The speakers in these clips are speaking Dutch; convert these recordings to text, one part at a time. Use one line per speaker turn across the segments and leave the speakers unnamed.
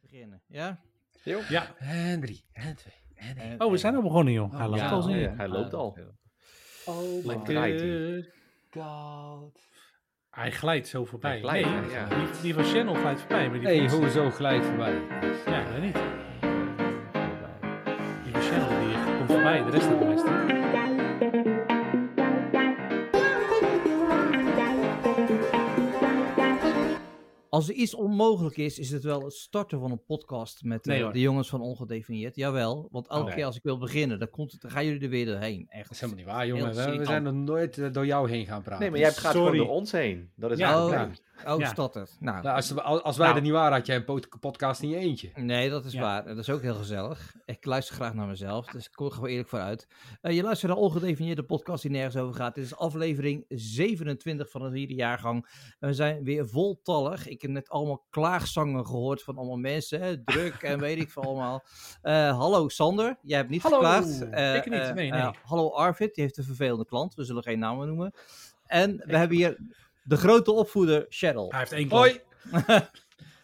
beginnen. Ja?
Jo.
Ja.
En drie. En twee. En één.
En-
Oh, we zijn al begonnen, joh.
Oh,
Hij loopt
ja,
al zo.
ja,
in.
ja, hij loopt
Ah,
al.
veel.
Oh
Lekker.
my
draait hij.
god.
Hij glijdt zo voorbij.
Hij glijdt,
nee,
ja.
die, die van Channel glijdt voorbij. Maar die
Hé, hey,
van,
hoezo glijdt voorbij?
Ja, ik weet niet. Die van Channel die komt voorbij. De rest hebben best.
Als er iets onmogelijk is, is het wel het starten van een podcast met eh,
Nee, hoor.
de jongens van Ongedefinieerd. Jawel, want elke
Oh, nee.
keer als ik wil beginnen, dan, komt het, dan gaan jullie er weer doorheen. Echt.
Dat is helemaal niet waar,
Heel
jongen. We, we
irritant.
zijn nog nooit eh, door jou heen gaan praten.
Nee, maar jij gaat
Sorry.
gewoon door ons heen. Dat is
Ja,
eigenlijk
oh,
het probleem.
Oh,
Ja.
is dat het? Nou,
Nou, als, als als wij
Nou.
er niet waren, had jij een pod- podcast in je eentje.
Nee, dat is
Ja.
waar. En Dat is ook heel gezellig. Ik luister graag naar mezelf, dus ik kom er gewoon eerlijk vooruit. Eh, je luistert naar Ongedefinieerde Podcast die nergens over gaat. Dit is aflevering 27 van het vierde jaargang. En we zijn weer voltallig. Ik heb net allemaal klaagzangen gehoord van allemaal mensen. Hè, druk en weet ik veel allemaal. Eh, hallo Sander, jij hebt niet
Hallo,
geklaagd. Eh,
ik niet.
eh,
Nee,
eh,
nee.
hallo Arvid, die heeft een vervelende klant. We zullen geen namen noemen. En we hebben hier de grote opvoeder Cheryl.
Hij heeft één klant.
Hoi!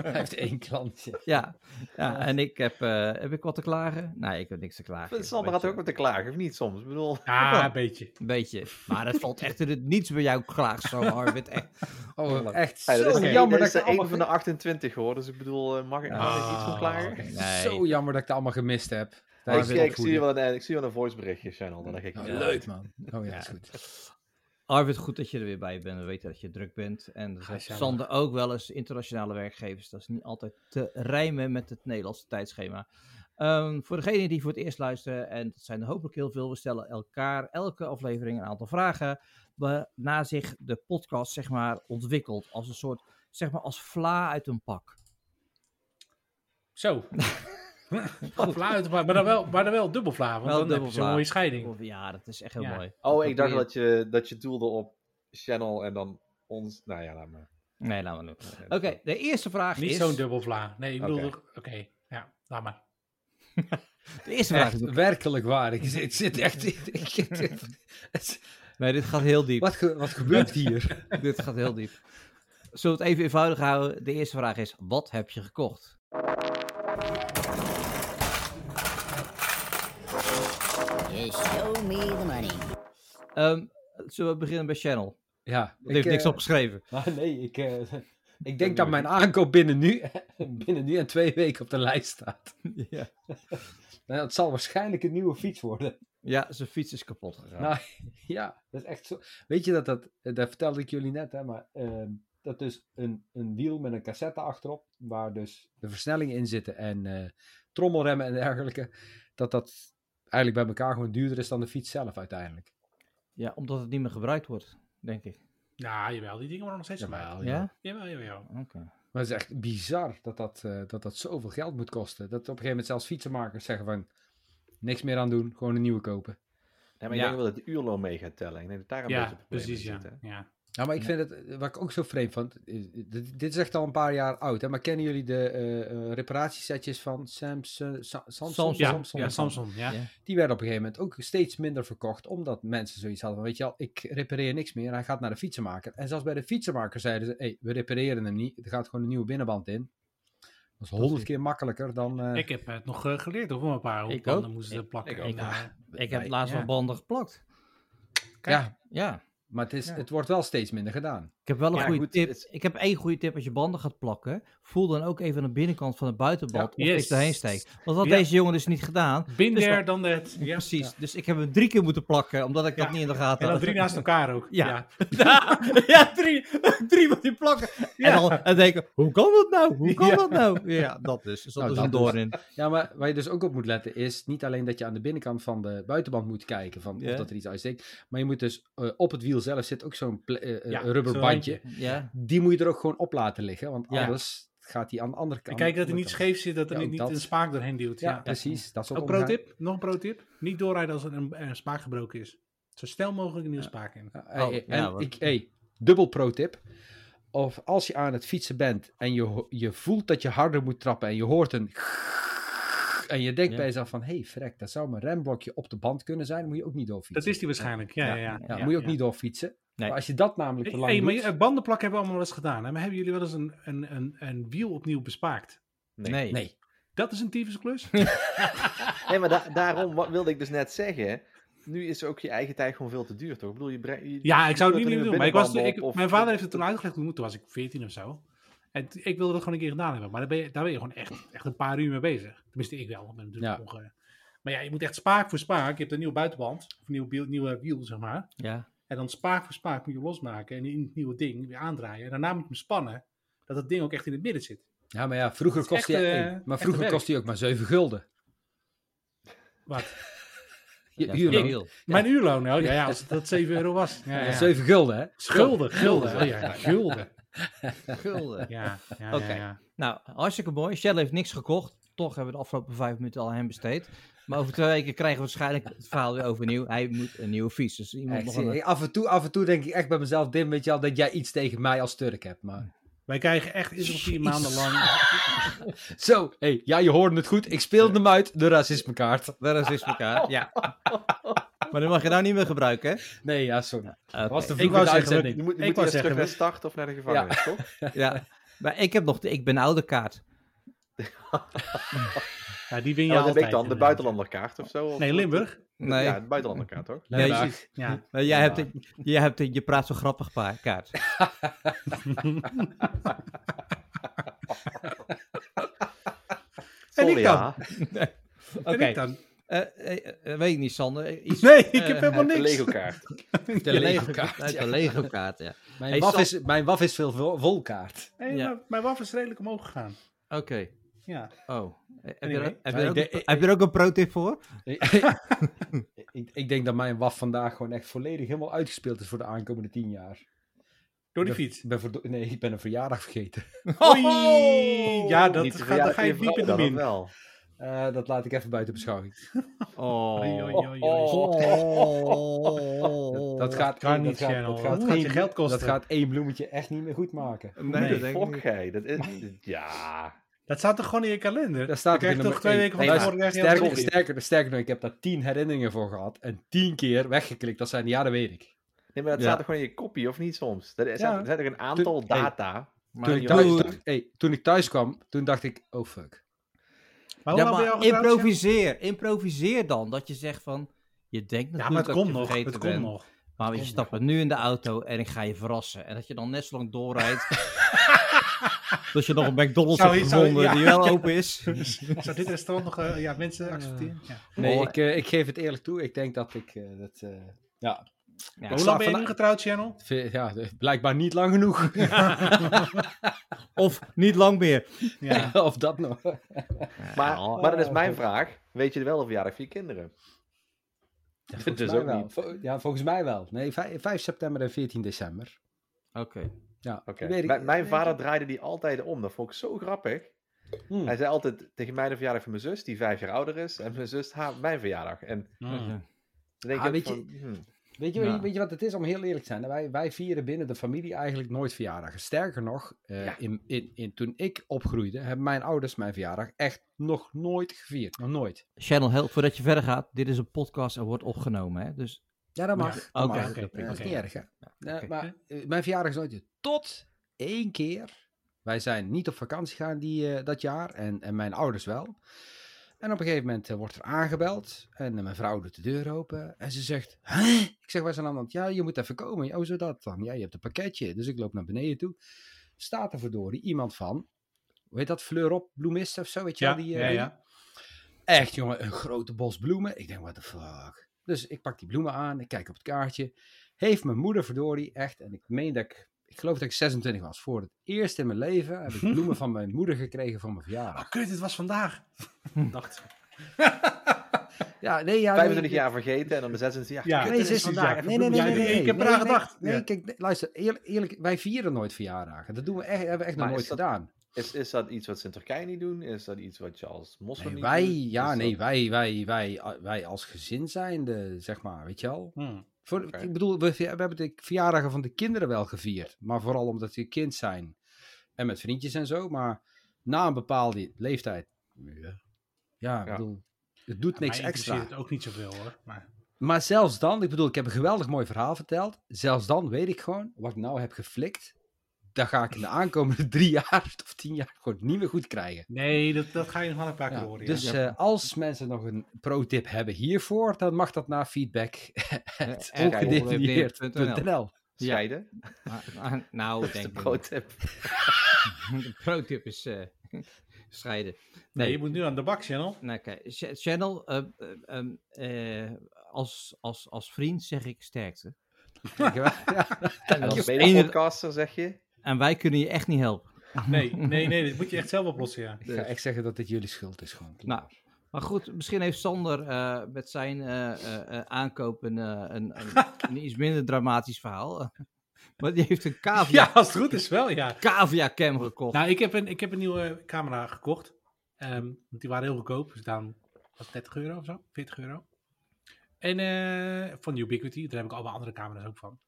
hij heeft één klantje.
Ja, ja en ik heb, eh, heb ik wat te klagen? Nee, ik heb niks te klagen.
Sander
Weet
gaat
je,
ook met te klagen, of niet soms? Ik bedoel,
Ja, een beetje.
Een beetje. Maar dat valt echt in het niets bij jou klaagt, zo Arvid. Echt.
Oh, echt
ja, dat
zo
is, geen- dat
jammer
is
dat ik er
de een
allemaal...
van de 28 hoor. Dus ik bedoel, eh, mag ik mag ik iets van klagen?
oké.
Nee.
Zo jammer dat ik er allemaal gemist heb.
Ik,
Tijdens
zie-
het
ik zie
opvoeden.
wel een, ik zie wel een voiceberichtje, Channel. Dan denk ik,
Oh,
ja.
Leuk, man. Oh ja, is goed.
Arvid, goed dat je er weer bij bent. We weten dat je druk bent. En dat
Ga
zegt
zelf.
Sander ook wel eens internationale werkgevers. Dat is niet altijd te rijmen met het Nederlandse tijdschema. Ehm, voor degenen die voor het eerst luisteren, en dat zijn er hopelijk heel veel, we stellen elkaar elke aflevering een aantal vragen. Waarna zich de podcast zeg maar, ontwikkelt als een soort, zeg maar als vla uit een pak.
Zo. Vla uit de vla, maar dan wel, maar dan wel dubbel vla, want
Wel
dan
dubbel
heb je zo'n
vla.
mooie scheiding.
Of- Ja, dat is echt heel
Ja.
mooi.
Oh, ik dacht
probeer-
dat je, dat je doelde op Channel en dan ons. Nou ja, laat maar.
Nee, laat maar doen. Oké, de eerste vraag
Niet
is...
zo'n dubbel vla. Nee, ik bedoel,
Oké.
toch- oké, ja, laat maar.
De eerste vraag
Echt,
is...
werkelijk waar. Ik, ik zit echt... ik- ik- het-
Nee, dit gaat heel diep.
wat, ge- wat gebeurt hier?
Dit gaat heel diep. Zullen we het even eenvoudig houden? De eerste vraag is: wat heb je gekocht?
You show me the money.
Ehm, zullen we beginnen bij Channel?
Ja,
Er heeft
ik,
niks
eh,
opgeschreven.
Maar nee, ik, eh, ik denk dat mijn aankoop binnen nu, binnen nu en twee weken op de lijst staat.
Ja.
Nou, het zal waarschijnlijk een nieuwe fiets worden.
ja, zijn fiets is kapot gegaan.
Nou, ja, dat is echt zo. Weet je dat dat, eh, dat vertelde ik jullie net, hè, maar ehm, dat is een, een wiel met een cassette achterop, waar dus de versnellingen in zitten en eh, trommelremmen en dergelijke, dat dat eigenlijk bij elkaar gewoon duurder is dan de fiets zelf uiteindelijk.
Ja, omdat het niet meer gebruikt wordt, denk ik.
Ja, jawel, die dingen worden nog steeds
Jawel,
gemaakt.
Ja?
Jawel, jawel.
Oké.
Maar het is echt bizar dat dat, eh, dat dat zoveel geld moet kosten. Dat op een gegeven moment zelfs fietsenmakers zeggen van, niks meer aan doen, gewoon een nieuwe kopen.
Ja, maar ik
Ja.
denk wel dat de uurloon mee gaat tellen. Ik denk dat daar een beetje
Ja,
het probleem
precies,
in
ja.
zit, hè?
ja.
Ja, Nou, maar ik
Ja.
vind het, wat ik ook zo vreemd vond, is- dit, dit is echt al een paar jaar oud, hè? maar kennen jullie de eh, eh, reparatiesetjes van Samsung, Sa- Samsung?
Samsung.
Ja,
Samsung?
ja, Samsung, ja.
Ja.
Die werden op een gegeven moment ook steeds minder verkocht, omdat mensen zoiets hadden van, weet je wel, ik repareer niks meer, hij gaat naar de fietsenmaker. En zelfs bij de fietsenmaker zeiden ze, hey, we repareren hem niet, er gaat gewoon een nieuwe binnenband in. Dat is honderd keer makkelijker dan... eh,
Ik heb het nog eh, geleerd over een paar hoe
Ik
banden
ook.
moesten
Ik-
plakken.
ik ook. nou.
En, eh,
Ik heb
bij-
laatst
ja.
wel banden geplakt.
Ja,
Ja.
maar het, is,
Ja.
het wordt wel steeds minder gedaan.
Ik heb wel een
Ja,
goede
goed,
tip.
het-
Ik heb één goede tip als je banden gaat plakken. Voel dan ook even aan de binnenkant van de buitenband
Ja,
of
yes.
ik erheen steek. Want dat had
Ja.
deze jongen dus niet gedaan.
Binder
Dus dat-
dan dat. Ja.
Precies. Dus ik heb hem drie keer moeten plakken, omdat ik
Ja.
dat niet in de gaten
En
had.
dan drie naast elkaar ook.
Ja.
ja.
ja, drie, drie moet je plakken.
Ja.
En dan en denken, hoe kan dat nou? Hoe kan
Ja.
dat nou? Ja, dat dus. Dus dat
Nou,
is een
dat dus.
doorn.
Ja, maar waar je dus ook op moet letten is niet alleen dat je aan de binnenkant van de buitenband moet kijken van
Ja.
of dat er iets uitsteekt, maar je moet dus eh, op het wiel zelf zit ook zo'n ple- eh, eh,
Ja, zo'n
rubberbandje.
Ja.
Die moet je er ook gewoon op laten liggen, want
Ja.
anders gaat die aan de andere
En
kant.
kijk dat hij niet
Ja,
scheef zit, dat er
Ja,
niet
dat.
een spaak doorheen duwt.
Ja,
Ja.
precies. Dat is ook
Ook pro
omgaan-
tip, nog een pro tip. Niet doorrijden als er een, een spaak gebroken is. Zo snel mogelijk een nieuwe spaak in.
Ja, hey,
Oh,
en
ja, hoor.
ik, hey, dubbel pro tip. Of als je aan het fietsen bent en je, ho- je voelt dat je harder moet trappen en je hoort een en je denkt
Ja.
bij jezelf van, hé hey, frek, dat zou mijn remblokje op de band kunnen zijn, dan moet je ook niet doorfietsen.
Dat is die waarschijnlijk. Ja, ja, ja.
Ja, moet je ook
ja.
niet doorfietsen.
Nee.
Maar als je dat namelijk te lang
Hey, maar
doet-
eh, bandenplakken hebben we allemaal wel eens gedaan. Hè? Maar hebben jullie wel eens een, een, een, een wiel opnieuw bespaakt?
Nee.
Nee.
Dat is een tyfusklus.
Nee, maar da- daarom wa- wilde ik dus net zeggen. Nu is ook je eigen tijd gewoon veel te duur, toch? Ik bedoel, je breng- je-
Ja,
je
ik zou het niet
kunt er
meer doen.
een
Maar ik was,
binnenband
ik,
op,
mijn
of-
vader heeft het toen uitgelegd. Toen toen was ik 14 of zo. En t- ik wilde dat gewoon een keer gedaan hebben. Maar daar ben je, daar ben je gewoon echt, echt een paar uur mee bezig. Tenminste, ik wel. want Ik ben natuurlijk
Ja.
nog, eh, maar ja, je moet echt spaak voor spaak. Je hebt een nieuwe buitenband. Of een nieuw, biel- nieuwe wiel, zeg maar.
Ja.
En dan spaak voor spaak moet je losmaken. En in het nieuwe ding weer aandraaien. En daarna moet je hem spannen. Dat het ding ook echt in het midden zit.
Ja, maar ja, vroeger
Het is
kost
echt,
hij
eh,
maar
echt
vroeger
werk.
kost hij ook maar 7 gulden.
Wat?
Je-
Ja,
uurloon.
heel.
Mijn uurloon, nou ja, ja, als dat 7 euro was. Ja, ja.
7 gulden, hè?
Schulden, gulden. Oh ja, gulden.
Gulden.
Ja, ja,
Oké.
ja, ja.
Nou, hartstikke mooi. Shell heeft niks gekocht. Toch hebben we de afgelopen vijf minuten al aan hem besteed. Maar over twee weken krijgen we waarschijnlijk het verhaal weer overnieuw. Hij moet een nieuwe fiets. Dus iemand
Echt,
nog een...
eh, af, en toe, af en toe denk ik echt bij mezelf, Dim, weet je al, dat jij iets tegen mij als Turk hebt. Maar
Wij krijgen echt iets of vier maanden lang.
zo, hey, ja, je hoorde het goed. Ik speelde hem uit, de racismekaart.
De racismekaart, ja. Maar die mag je nou niet meer gebruiken, hè?
Nee, ja, sorry.
Oké.
Dat was de
Ah, Ik wou
vroegere
zeggen,
uitzending.
Je moet, je
Ik
moet
wou
eerst terug
zeggen,
naar start of naar de gevangenis, toch?
Ja. Maar ik heb nog de ik ben ouder kaart.
Ja, die win je
Ja, wat heb ik Oh, dan?
altijd.
De
inderdaad.
buitenlanderkaart of zo? Of-
Nee, Limburg.
Nee,
Ja, de buitenlanderkaart, toch?
nee,
Limburg.
precies.
Ja.
Nee, jij, hebt de, jij hebt de je praat zo grappig pa- kaart.
Sorry,
ik dan?
ja.
Oké.
En ik dan?
Eh, eh, eh, weet ik niet, Sander. Iets
Nee, ik
Eh,
heb helemaal
De
oh, niks.
Lego-kaart.
De
uit
Lego-kaart,
Uit
ja.
de Lego kaart, ja.
Mijn,
Hey,
waf
Sam.
is, mijn waf is veel vol- volkaart.
Nee,
Ja.
maar mijn waf is redelijk omhoog gegaan.
Oké.
Ja.
Oh. Eh, Heb je,
Anyway.
er- heb, je
Maar
er
ik
ook,
denk-
een- heb je er ook een pro-tip voor?
ik, ik denk dat mijn waf vandaag gewoon echt volledig helemaal uitgespeeld is voor de aankomende 10 jaar.
Door die
Ik ben-
fiets.
ik Ben verdo- nee, ik ben een verjaardag vergeten.
Oei! Ja, dat
Niet te
gaat, daar
verjaardag
ga je
van
diep in de
dan, of
min.
wel.
Eh, dat laat ik even buiten beschouwing.
Oei, oei,
Oh.
oei, oei.
Oh.
Dat, dat gaat,
kan niet,
dat gaat,
Oh, Channel.
dat gaat
Dat gaat je
één-
geld kosten.
Dat gaat één bloemetje echt niet meer goed maken.
Nee, dat denk ik
Fok,
niet.
gij, dat is... Ja.
Dat staat toch gewoon in je kalender?
Daar staat
je
ook in
krijgt toch twee
nummer één.
weken van
Nee,
tevoren krijg je dat
Sterker,
toch in.
sterker, sterker nog, ik heb daar tien herinneringen voor gehad. En tien keer weggeklikt. Dat zijn, ja, dat weet ik.
Nee, maar dat
Ja.
staat toch gewoon in je kopie, of niet soms? Er zijn,
Ja.
er zijn er een aantal
Toen- hey.
data.
Toen
Maar
ik,
je
thuis,
moet-
toen- hey, toen ik thuis kwam, toen dacht ik, oh fuck.
Maar hoe
Ja,
lang ben je
maar
al getrouwd, Sjan?
improviseer. Improviseer dan. Dat je zegt van... Je denkt
Ja, maar
natuurlijk dat
het komt
je
nog.
vergeten
Het komt
bent,
nog.
Maar je stapt nu in de auto en ik ga je verrassen. En dat je dan net zo lang doorrijdt. dat je nog een McDonald's
Zou-
hebt
zou-
gevonden
ja.
die wel open is.
Zou dit restaurant nog eh, ja, mensen accepteren? Ja.
Nee,
Oh,
ik, eh, ik geef het eerlijk toe. Ik denk dat ik eh, dat... eh, ja,
Ja,
Maar hoe lang ben je nu
vandaag-
getrouwd, Channel?
ve- ja, blijkbaar niet lang genoeg.
Of niet lang meer.
Ja.
of dat nog.
Maar, maar dan is mijn vraag, weet je wel of verjaardag van je kinderen?
Volgens
dus
mij
ook
wel.
niet.
Vo- ja, volgens mij wel. Nee, vij- 5, september en 14 december.
Oké.
Ja,
Oké.
ik weet
Mijn-
ik-
Mijn vader draaide die altijd om. Dat vond ik zo grappig.
Hmm.
Hij zei altijd tegen mij de verjaardag van mijn zus, die vijf jaar ouder is. En mijn zus, haar, mijn verjaardag. En dan denk
Ah,
ik
weet
ook van, hmm,
Weet je,
Ja.
weet je wat het is, om heel eerlijk te zijn? Wij, wij vieren binnen de familie eigenlijk nooit verjaardagen. Sterker nog, eh,
Ja.
in, in, in, toen ik opgroeide, hebben mijn ouders mijn verjaardag echt nog nooit gevierd. Nog nooit.
Channel, help, voordat je verder gaat. Dit is een podcast en wordt opgenomen. Hè? Dus
Ja, dat mag.
mag.
dat
Oké,
mag.
oké,
Dat
prima.
is niet
Oké.
erg, hè? Eh,
oké.
maar eh, mijn verjaardag is nooit... Tot één keer. Wij zijn niet op vakantie gaan die, eh, dat jaar. En, en mijn ouders wel. En op een gegeven moment eh, wordt er aangebeld. En eh, mijn vrouw doet de deur open. En ze zegt... Hè? Ik zeg, wij zijn aan het... Ja, je moet even komen. Oh, zo dat dan. Ja, je hebt een pakketje. Dus ik loop naar beneden toe. Staat er verdorie iemand van... Hoe heet dat? Fleur op, bloemist of zo? Weet je
Ja,
wel? Die, eh,
ja, ja.
Echt, jongen, een grote bos bloemen. Ik denk, what the fuck. Dus ik pak die bloemen aan, ik kijk op het kaartje. Heeft mijn moeder verdorie echt, en ik meen dat ik, ik geloof dat ik 26 was. Voor het eerst in mijn leven heb ik bloemen van mijn moeder gekregen voor mijn verjaardag.
Oh, kut, het was vandaag. Dacht.
Ja, nee, ja. nee,
25
ik-
jaar vergeten en dan mijn 26 jaar.
Ja.
kut.
Nee,
dit
ze
is
is
precies, ja,
vandaag.
ik
Nee, nee,
bedoel,
nee, nee,
ja,
nee,
ik heb
nee,
eraan
nee,
gedacht.
Nee,
Ja.
kijk, nee, luister, eerlijk, eerlijk, wij vieren nooit verjaardagen. Dat doen we echt, hebben we echt nog
Maar
nooit
is dat-
gedaan.
Is, is dat iets wat ze in Turkije niet doen? Is dat iets wat je als moslim
Nee,
niet
wij,
doet?
ja,
Is
nee,
dat-
wij, wij, wij, wij als gezin zijnde, zeg maar, weet je wel.
Hmm.
Voor,
Oké.
Ik bedoel, we, we hebben de verjaardagen van de kinderen wel gevierd. Maar vooral omdat ze kind zijn. En met vriendjes en zo. Maar na een bepaalde leeftijd. Ja, ik
Ja.
bedoel, het doet niks
Mij interesseert
extra.
het ook niet zoveel hoor. Maar
Maar zelfs dan, ik bedoel, ik heb een geweldig mooi verhaal verteld. Zelfs dan weet ik gewoon wat ik nou heb geflikt. dat ga ik in de aankomende drie jaar of tien jaar gewoon niet meer goed krijgen.
Nee, dat, dat ga je nog wel een paar keer
Ja,
horen. ja.
dus eh, als mensen nog een pro-tip hebben hiervoor, dan mag dat naar feedback. at
Eh,
ongedefinieerd.nl.
Scheiden.
Ah, ah, nou,
Dat is
denk
de
ik.
pro-tip.
De pro-tip is eh, scheiden.
Nee, je moet nu aan de bak, channel.
Nou, kijk, Ch- Channel, eh, eh, ehm, eh, als, als, als vriend zeg ik sterkte.
En als
Als
mede
enige-
podcaster zeg je.
En wij kunnen je echt niet helpen.
Nee, nee, nee, dit moet je echt zelf oplossen, ja.
Ik ga echt zeggen dat dit jullie schuld is gewoon.
Nou, maar goed, misschien heeft Sander eh, met zijn eh, eh, eh, aankoop een, eh, een, een, een iets minder dramatisch verhaal. Maar die heeft een cavia,
Ja, als het goed is wel, ja.
cam gekocht.
Nou, ik heb een, ik heb een nieuwe camera gekocht. Ehm, want die waren heel goedkoop. Dus daarom was het 30 euro of zo, 40 euro. En eh, van Ubiquity, daar heb ik alle andere camera's ook van.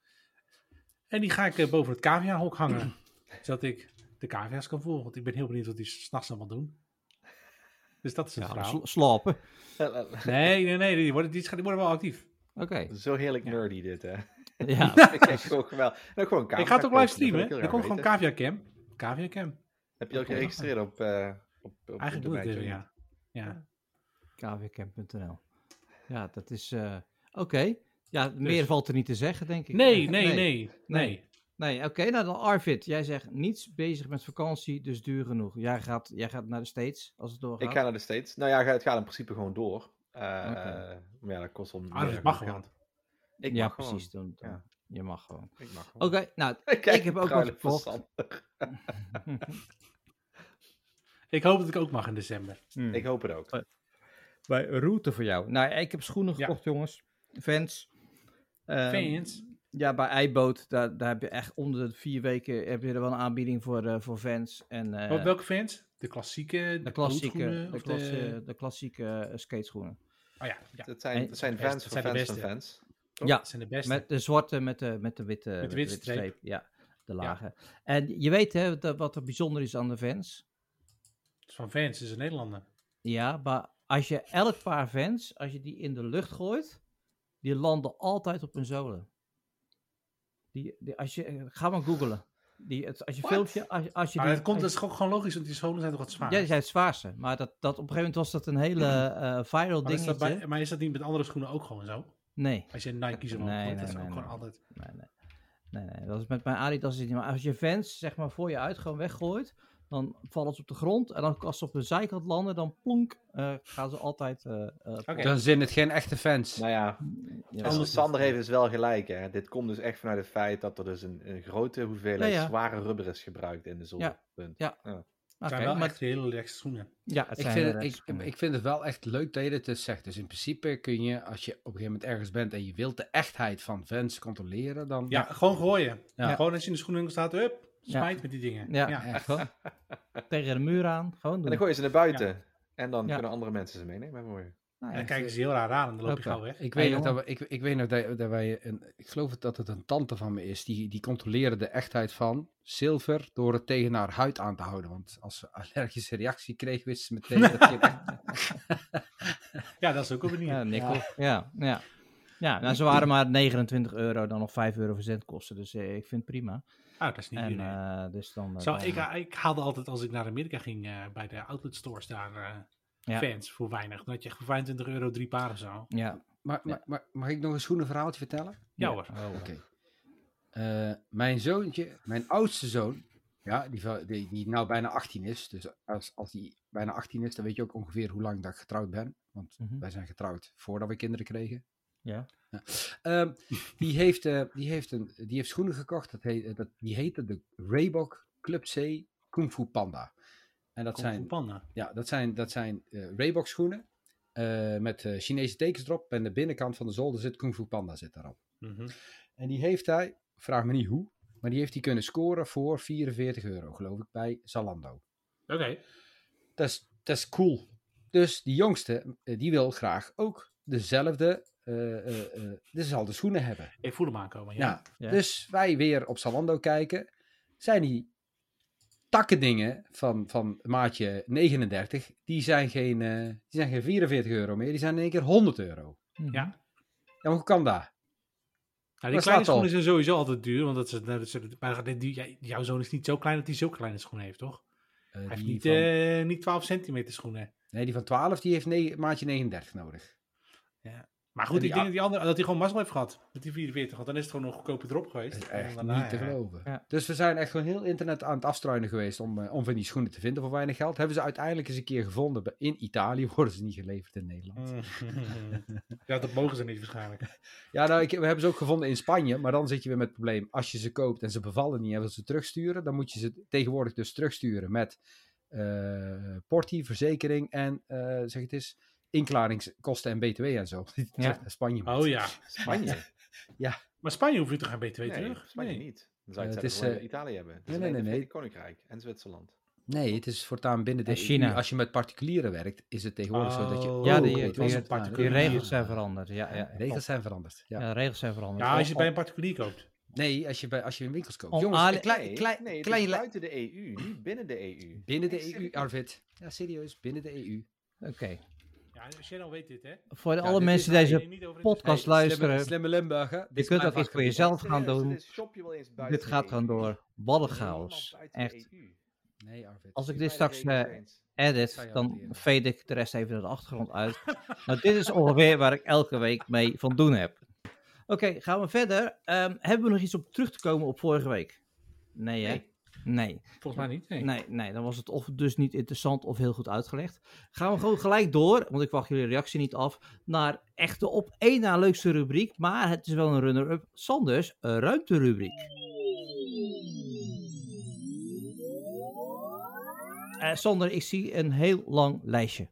En die ga ik eh, boven het caviahok hangen. zodat ik de cavia's kan volgen. Want ik ben heel benieuwd wat die s'nachts allemaal doen. Dus dat is het
Ja,
verhaal.
sl- slapen.
Nee, nee, nee. Die worden, die, die worden wel actief.
Oké,
Zo heerlijk nerdy dit, hè.
ja.
ik vind het gewoon geweldig. Nou, gewoon
ik ga het ook live
streamen.
streamen. Er komt gewoon Cavia Cam. Cavia Cam.
Heb je ook geregistreerd op... eh, op, op
Eigenlijk moet ik
erbij,
even,
Johnny?
ja. Ja.
kvcamp.nl. Ja, dat is... eh, Oké. Ja, meer valt er niet te zeggen, denk ik.
Dus-
Eh,
Nee, nee, nee.
nee.
Nee.
Nee, oké. nou, dan Arvid. Jij zegt niets bezig met vakantie, dus duur genoeg. Jij gaat, jij gaat naar de States als het doorgaat.
Ik ga naar de States. Nou ja, het gaat in principe gewoon door. Eh,
Oké.
Maar ja, dat kost wel meer
Arvid
dan
mag
ik
gewoon.
had. Ik
ja,
mag gewoon.
precies. Dan, dan-
Ja.
Je mag gewoon.
Ik mag
Oké,
gewoon.
nou,
Kijk,
ik heb ook wat
pruilen van
gekocht.
Sander.
Ik hoop dat ik ook mag in december.
Ik hoop het ook.
wij route voor jou. Nou, ik heb schoenen
Ja.
gekocht, jongens. Fans. Ehm,
Fans.
Ja, bij iBoot, daar, daar heb je echt onder de vier weken heb je er wel een aanbieding voor, eh, voor fans. En, eh,
Wat- welke fans? De klassieke, de,
de klassieke,
bloedschoenen
de,
of
klas, eh, de klassieke eh, skateschoenen.
Oh ja, ja.
Het
Nee,
zijn, het zijn
dat zijn
fans
de
van fans
beste.
van fans.
Ja,
dat zijn de beste.
Met de zwarte, met de, met de witte, met
de witte streep.
Ja, de lage. En je weet hè, dat, wat er bijzonder is aan de fans.
Van fans, dus een Nederlander.
Ja, maar als je elk paar fans, als je die in de lucht gooit, die landen altijd op hun zolen. Die, die, als je, eh, ga maar googlen. Die, het, als je filmpje, als, je- als je
Maar
die-
dat, komt, dus dat
als
is ook gewoon logisch, want die schoenen zijn toch wat
je-
zwaar.
ja, die zijn het zwaarste. Maar dat, dat, op een gegeven moment was dat een hele eh, viral
maar, is
dingetje.
dat bij- maar is dat niet met andere schoenen ook gewoon zo?
Nee,
Als je Nike's erop
Nee,
nee,
nee,
dat is
nee,
ook gewoon
nee.
altijd...
nee, nee. Nee, nee, dat is met mijn Adidas is het niet. Maar als je fans, zeg maar, voor je uit gewoon weggooit, dan vallen ze op de grond. En dan, als ze op de zijkant landen, dan plonk, eh, gaan ze altijd... eh, eh,
Oké.
Dan zijn het geen echte fans.
Nou ja,
ja.
en Sander heeft dus wel gelijk. Hè. Dit komt dus echt vanuit het feit dat er dus een, een grote hoeveelheid
Ja, ja.
zware rubber is gebruikt in de zon.
Ja.
Punt.
Het
Oké,
zijn wel
maar-
echt hele relaxte schoenen.
Ja, het
Ik
zijn
vind,
de
het, ik,
rechtsschoenen.
ik vind het wel echt leuk dat je dit dus zegt. Dus in principe kun je, als je op een gegeven moment ergens bent en je wilt de echtheid van fans controleren, dan...
Ja, gewoon gooien.
Ja.
Gewoon als je in de schoenen staat, hup,
Ja.
smijt met die dingen.
Ja,
ja.
echt.
Gewoon tegen de muur aan. Gewoon
En
doen.
dan gooien ze naar buiten. En dan
Ja.
kunnen andere mensen ze meenemen. Mooi.
Nou
En
ja,
dan kijken ze heel raar aan en dan loop je
Hoppa.
gauw weg.
Ik
Hey,
weet, nog dat we, ik, ik weet nog dat, dat wij, een, ik geloof dat het een tante van me is, die, die controleerde de echtheid van zilver door het tegen haar huid aan te houden. Want als ze allergische reactie kreeg, wist ze meteen dat je
Ja, dat is ook een manier.
ja, nikkel. Ja. ja, ja. nou, ze waren maar 29 euro, dan nog 5 euro verzendkosten. Dus eh, ik vind het prima.
Ah, dat is niet
En
duur, nee.
eh, dus dan... eh,
Zo,
dan-
ik, ik haalde altijd als ik naar Amerika ging eh, bij de outlet stores daar eh,
Ja.
fans voor weinig. Dan had je echt voor 25 euro drie paar of zo.
Ja.
Maar, maar, maar mag ik nog een schoenenverhaaltje vertellen?
Ja, hoor.
Oh,
Oké. Eh, mijn zoontje, mijn oudste zoon, ja, die, va- die, die nou bijna 18 is. Dus als, als die bijna 18 is, dan weet je ook ongeveer hoe lang dat ik getrouwd ben. Want
mhm.
wij zijn getrouwd voordat we kinderen kregen.
Ja.
Ehm, die, heeft, eh, die, heeft een, die heeft schoenen gekocht. Dat heet, dat, die heette de Reebok Club C Kung Fu Panda. En dat
Kung Fu
zijn
Panda.
ja, dat zijn, dat zijn eh, Reebok schoenen eh, met eh, Chinese tekens erop. En de binnenkant van de zolder zit Kung Fu Panda zit daarop.
Mhm.
En die heeft hij, vraag me niet hoe, maar die heeft hij kunnen scoren voor 44 euro, geloof ik, bij Zalando.
Oké.
Dat is, dat is cool. Dus die jongste, eh, die wil graag ook dezelfde, eh eh eh, dezelfde schoenen hebben.
Ik voel hem aankomen, ja. Nou,
Ja.
Ja.
Dus wij weer op Zalando kijken. Zijn die takkendingen van, van maatje 39, die zijn, geen, eh, die zijn geen 44 euro meer, die zijn in één keer 100 euro.
Mhm.
Ja.
Ja, maar hoe kan dat?
Nou, die kleine
Dat staat al.
schoenen zijn sowieso altijd duur. Want dat is, dat is, maar die- die- jij- jouw zoon is niet zo klein dat hij zo kleine schoenen heeft, toch?
Eh,
Hij heeft
die
niet,
van,
eh, niet 12 centimeter schoenen.
Nee, die van 12 die heeft negen- maatje 39 nodig.
Maar goed,
En
ik
die
denk
a-
dat, die andere, dat hij gewoon mazzel heeft gehad. Met die 44, want dan is het gewoon nog goedkoper erop geweest.
Dat is
En dan
echt
daarna,
niet te
ja.
geloven.
Ja.
Dus we zijn echt gewoon heel internet aan het afstruinen geweest om, eh, om van die schoenen te vinden voor weinig geld. Hebben ze uiteindelijk eens een keer gevonden. bij- In Italië worden ze niet geleverd in Nederland.
Mm. ja, dat mogen ze niet waarschijnlijk.
Ja, nou, ik, we hebben ze ook gevonden in Spanje, maar dan zit je weer met het probleem. Als je ze koopt en ze bevallen niet en wil ze terugsturen, dan moet je ze tegenwoordig dus terugsturen met eh portie, verzekering en eh, zeg het eens, inklaringskosten en btw en zo. Die terug
Ja.
naar Spanje. moet.
Oh ja.
Spanje?
Maar Spanje hoeft je toch geen BTW
Nee,
terug?
Spanje
Nee.
niet. Dan zou je
Eh,
het zelf
het is,
wel in
eh,
Italië hebben. Het is
nee,
alleen
nee,
het
nee.
Verenigd Koninkrijk en Zwitserland.
Nee, het is voortaan binnen de
En China.
EU. Als je met particulieren werkt, is het tegenwoordig zo dat je.
Oh,
Ja, die-
ook weet
die-
wat
die-
het waard is.
Die
particulier.
regels zijn veranderd. Ja, ja,
Ja, regels zijn veranderd. Ja.
Ja, de regels zijn veranderd. Oh,
Ja, als je het bij een particulier koopt.
Nee, als je, bij, als je in winkels koopt.
Om
Jongens,
Ali-
een klein,
E nee,
klein,
nee, het
klein
is
li-
buiten de EU, niet binnen de E EU.
Binnen de
Echt
EU,
serieus.
Arvid. Ja, serieus, binnen de E EU.
oh, Oké.
Ja, Sharon weet dit, hè?
Voor
Ja,
alle
dit
mensen
Daar
die
ben
deze
je niet over in
podcast
Hey,
luisteren,
Slimme, slimme Limburger. Dit
je
is
kunt
mijn
ook iets voor
vakgebied.
jezelf gaan
Serieus,
doen.
dit is- shop je wel eens buiten
Dit gaat
E
de
gewoon
EU.
door.
Helemaal
Ballenchaos.
buiten de
Echt.
EU.
Nee, Arvid.
Als ik
Bij
dit
de
straks
regels
E
eh,
eens.
Zou
edit,
je
dan
waarderen.
fade ik de rest even naar de achtergrond uit. nou, dit is ongeveer waar ik elke week mee van doen heb. Oké, gaan we verder. Ehm, hebben we nog iets op terug te komen op vorige week? Nee, hè? Nee.
Volgens mij niet. Nee.
Nee, nee, dan was het of dus niet interessant of heel goed uitgelegd. Gaan we gewoon gelijk door, want ik wacht jullie reactie niet af, naar echt de op één na leukste rubriek, maar het is wel een runner-up. Sanders, een ruimterubriek. Eh, Sander, ik zie een heel lang lijstje.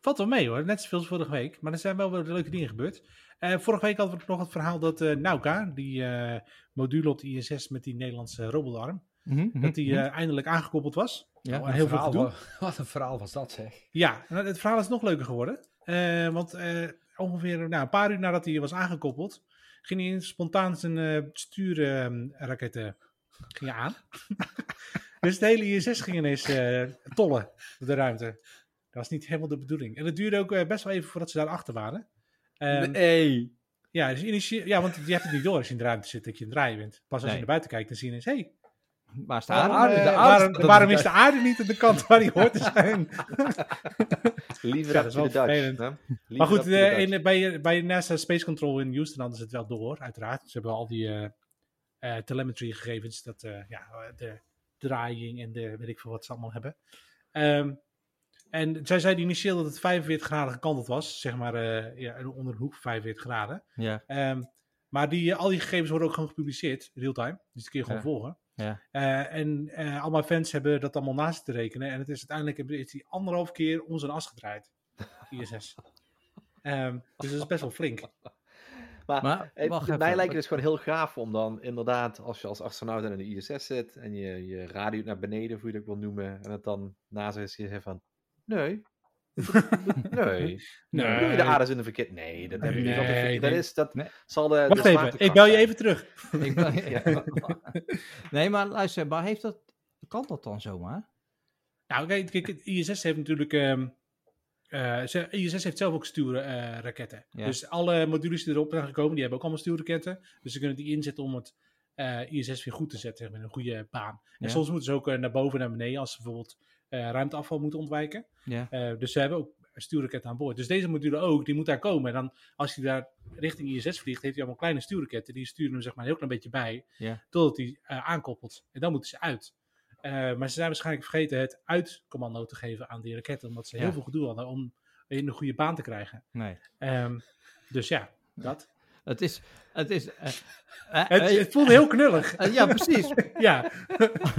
Valt wel mee hoor, net zoveel als vorige week. Maar er zijn wel weer leuke dingen gebeurd. Eh, vorige week hadden we nog het verhaal dat eh Nauka, die eh, module op de ISS met die Nederlandse robotarm,
Mhm, Hm?
dat die eh, eindelijk aangekoppeld was.
Ja,
Nou, en heel veel
Verhaal,
gedoe.
wa- Wat een verhaal was dat, zeg.
Ja, en het verhaal is nog leuker geworden. Eh, want eh, ongeveer nou, een paar uur nadat hij was aangekoppeld, ging hij spontaan zijn eh stuurraket ging hij aan. dus de hele ISS ging ineens eh, tollen door de ruimte. Dat was niet helemaal de bedoeling. En het duurde ook eh, best wel even voordat ze daar achter waren. Ehm,
nee.
ja, dus initieel- ja, want je hebt het niet door als je in de ruimte zit dat je in het draaien bent. Pas als
Nee.
je naar buiten kijkt, dan zie je ineens, hey,
Waar
Ja,
staat
maar-
het?
aarde- de
eh,
aarde
waarom,
staat op
waarom
de
is de aarde niet aan de kant waar die hoort te zijn?
Liever ja,
Ja, dat is
de Dutch.
wel
hè?
Maar
Liever
goed,
up to the
eh,
Dutch.
in- bij, bij NASA Space Control in Houston hadden ze het wel door, uiteraard. Ze hebben al die eh, eh, telemetry gegevens, dat, eh, ja, eh, de draaiing en de weet ik veel wat ze allemaal hebben. Ehm, en zij zeiden initieel dat het 45 graden gekanteld was, zeg maar eh, ja, onder een hoek van 45 graden.
Ja,
Ehm, maar die, eh, al die gegevens worden ook gewoon gepubliceerd, real-time. Dus die kun je gewoon
Ja.
volgen.
Ja.
Eh, en eh, al mijn fans hebben dat allemaal naast te rekenen. En het is uiteindelijk is die anderhalf keer om zijn as gedraaid. ISS. Ehm, dus dat is best wel flink.
Maar,
maar
eh,
wacht
mij
even.
lijkt het dus gewoon heel gaaf om dan inderdaad, als je als astronaut aan de ISS zit en je, je radio naar beneden, of hoe je dat wil noemen, en het dan naast is, je zegt van, nee, nee,
Nee.
Doe je de aardes in de verkeerde? Nee, dat hebben jullie
Nee,
wel verkeerd. Dat
nee.
is, dat
Nee.
zal de...
Wacht
de
even,
zwaartekracht
ik bel je
zijn.
even terug.
Ik ben-
Ja.
Nee, maar luister, maar heeft dat, kan dat dan zomaar?
Nou, kijk, kijk, het ISS heeft natuurlijk. ehm, eh, ze- ISS heeft zelf ook stuurraketten.
Ja.
Dus alle modules die erop zijn gekomen, die hebben ook allemaal stuurraketten. Dus ze kunnen die inzetten om het eh, ISS weer goed te zetten, zeg maar, in een goede baan.
Ja.
En soms moeten ze ook eh, naar boven en naar beneden als ze bijvoorbeeld eh, ruimteafval moeten ontwijken.
Ja.
Eh, dus ze hebben ook stuurraketten aan boord. Dus deze module ook, die moet daar komen. En dan, als hij daar richting ISS vliegt, heeft hij allemaal kleine stuurraketten. Die sturen hem zeg maar een heel klein beetje bij,
Ja.
totdat hij eh, aankoppelt. En dan moeten ze uit. Eh, maar ze zijn waarschijnlijk vergeten het uitcommando te geven aan die raketten, omdat ze
Ja.
heel veel gedoe hadden om in een goede baan te krijgen.
Nee.
Ehm, dus ja, dat.
Het is, het is... eh, eh,
Het,
eh,
het voelde heel knullig.
eh, ja, precies.
ja.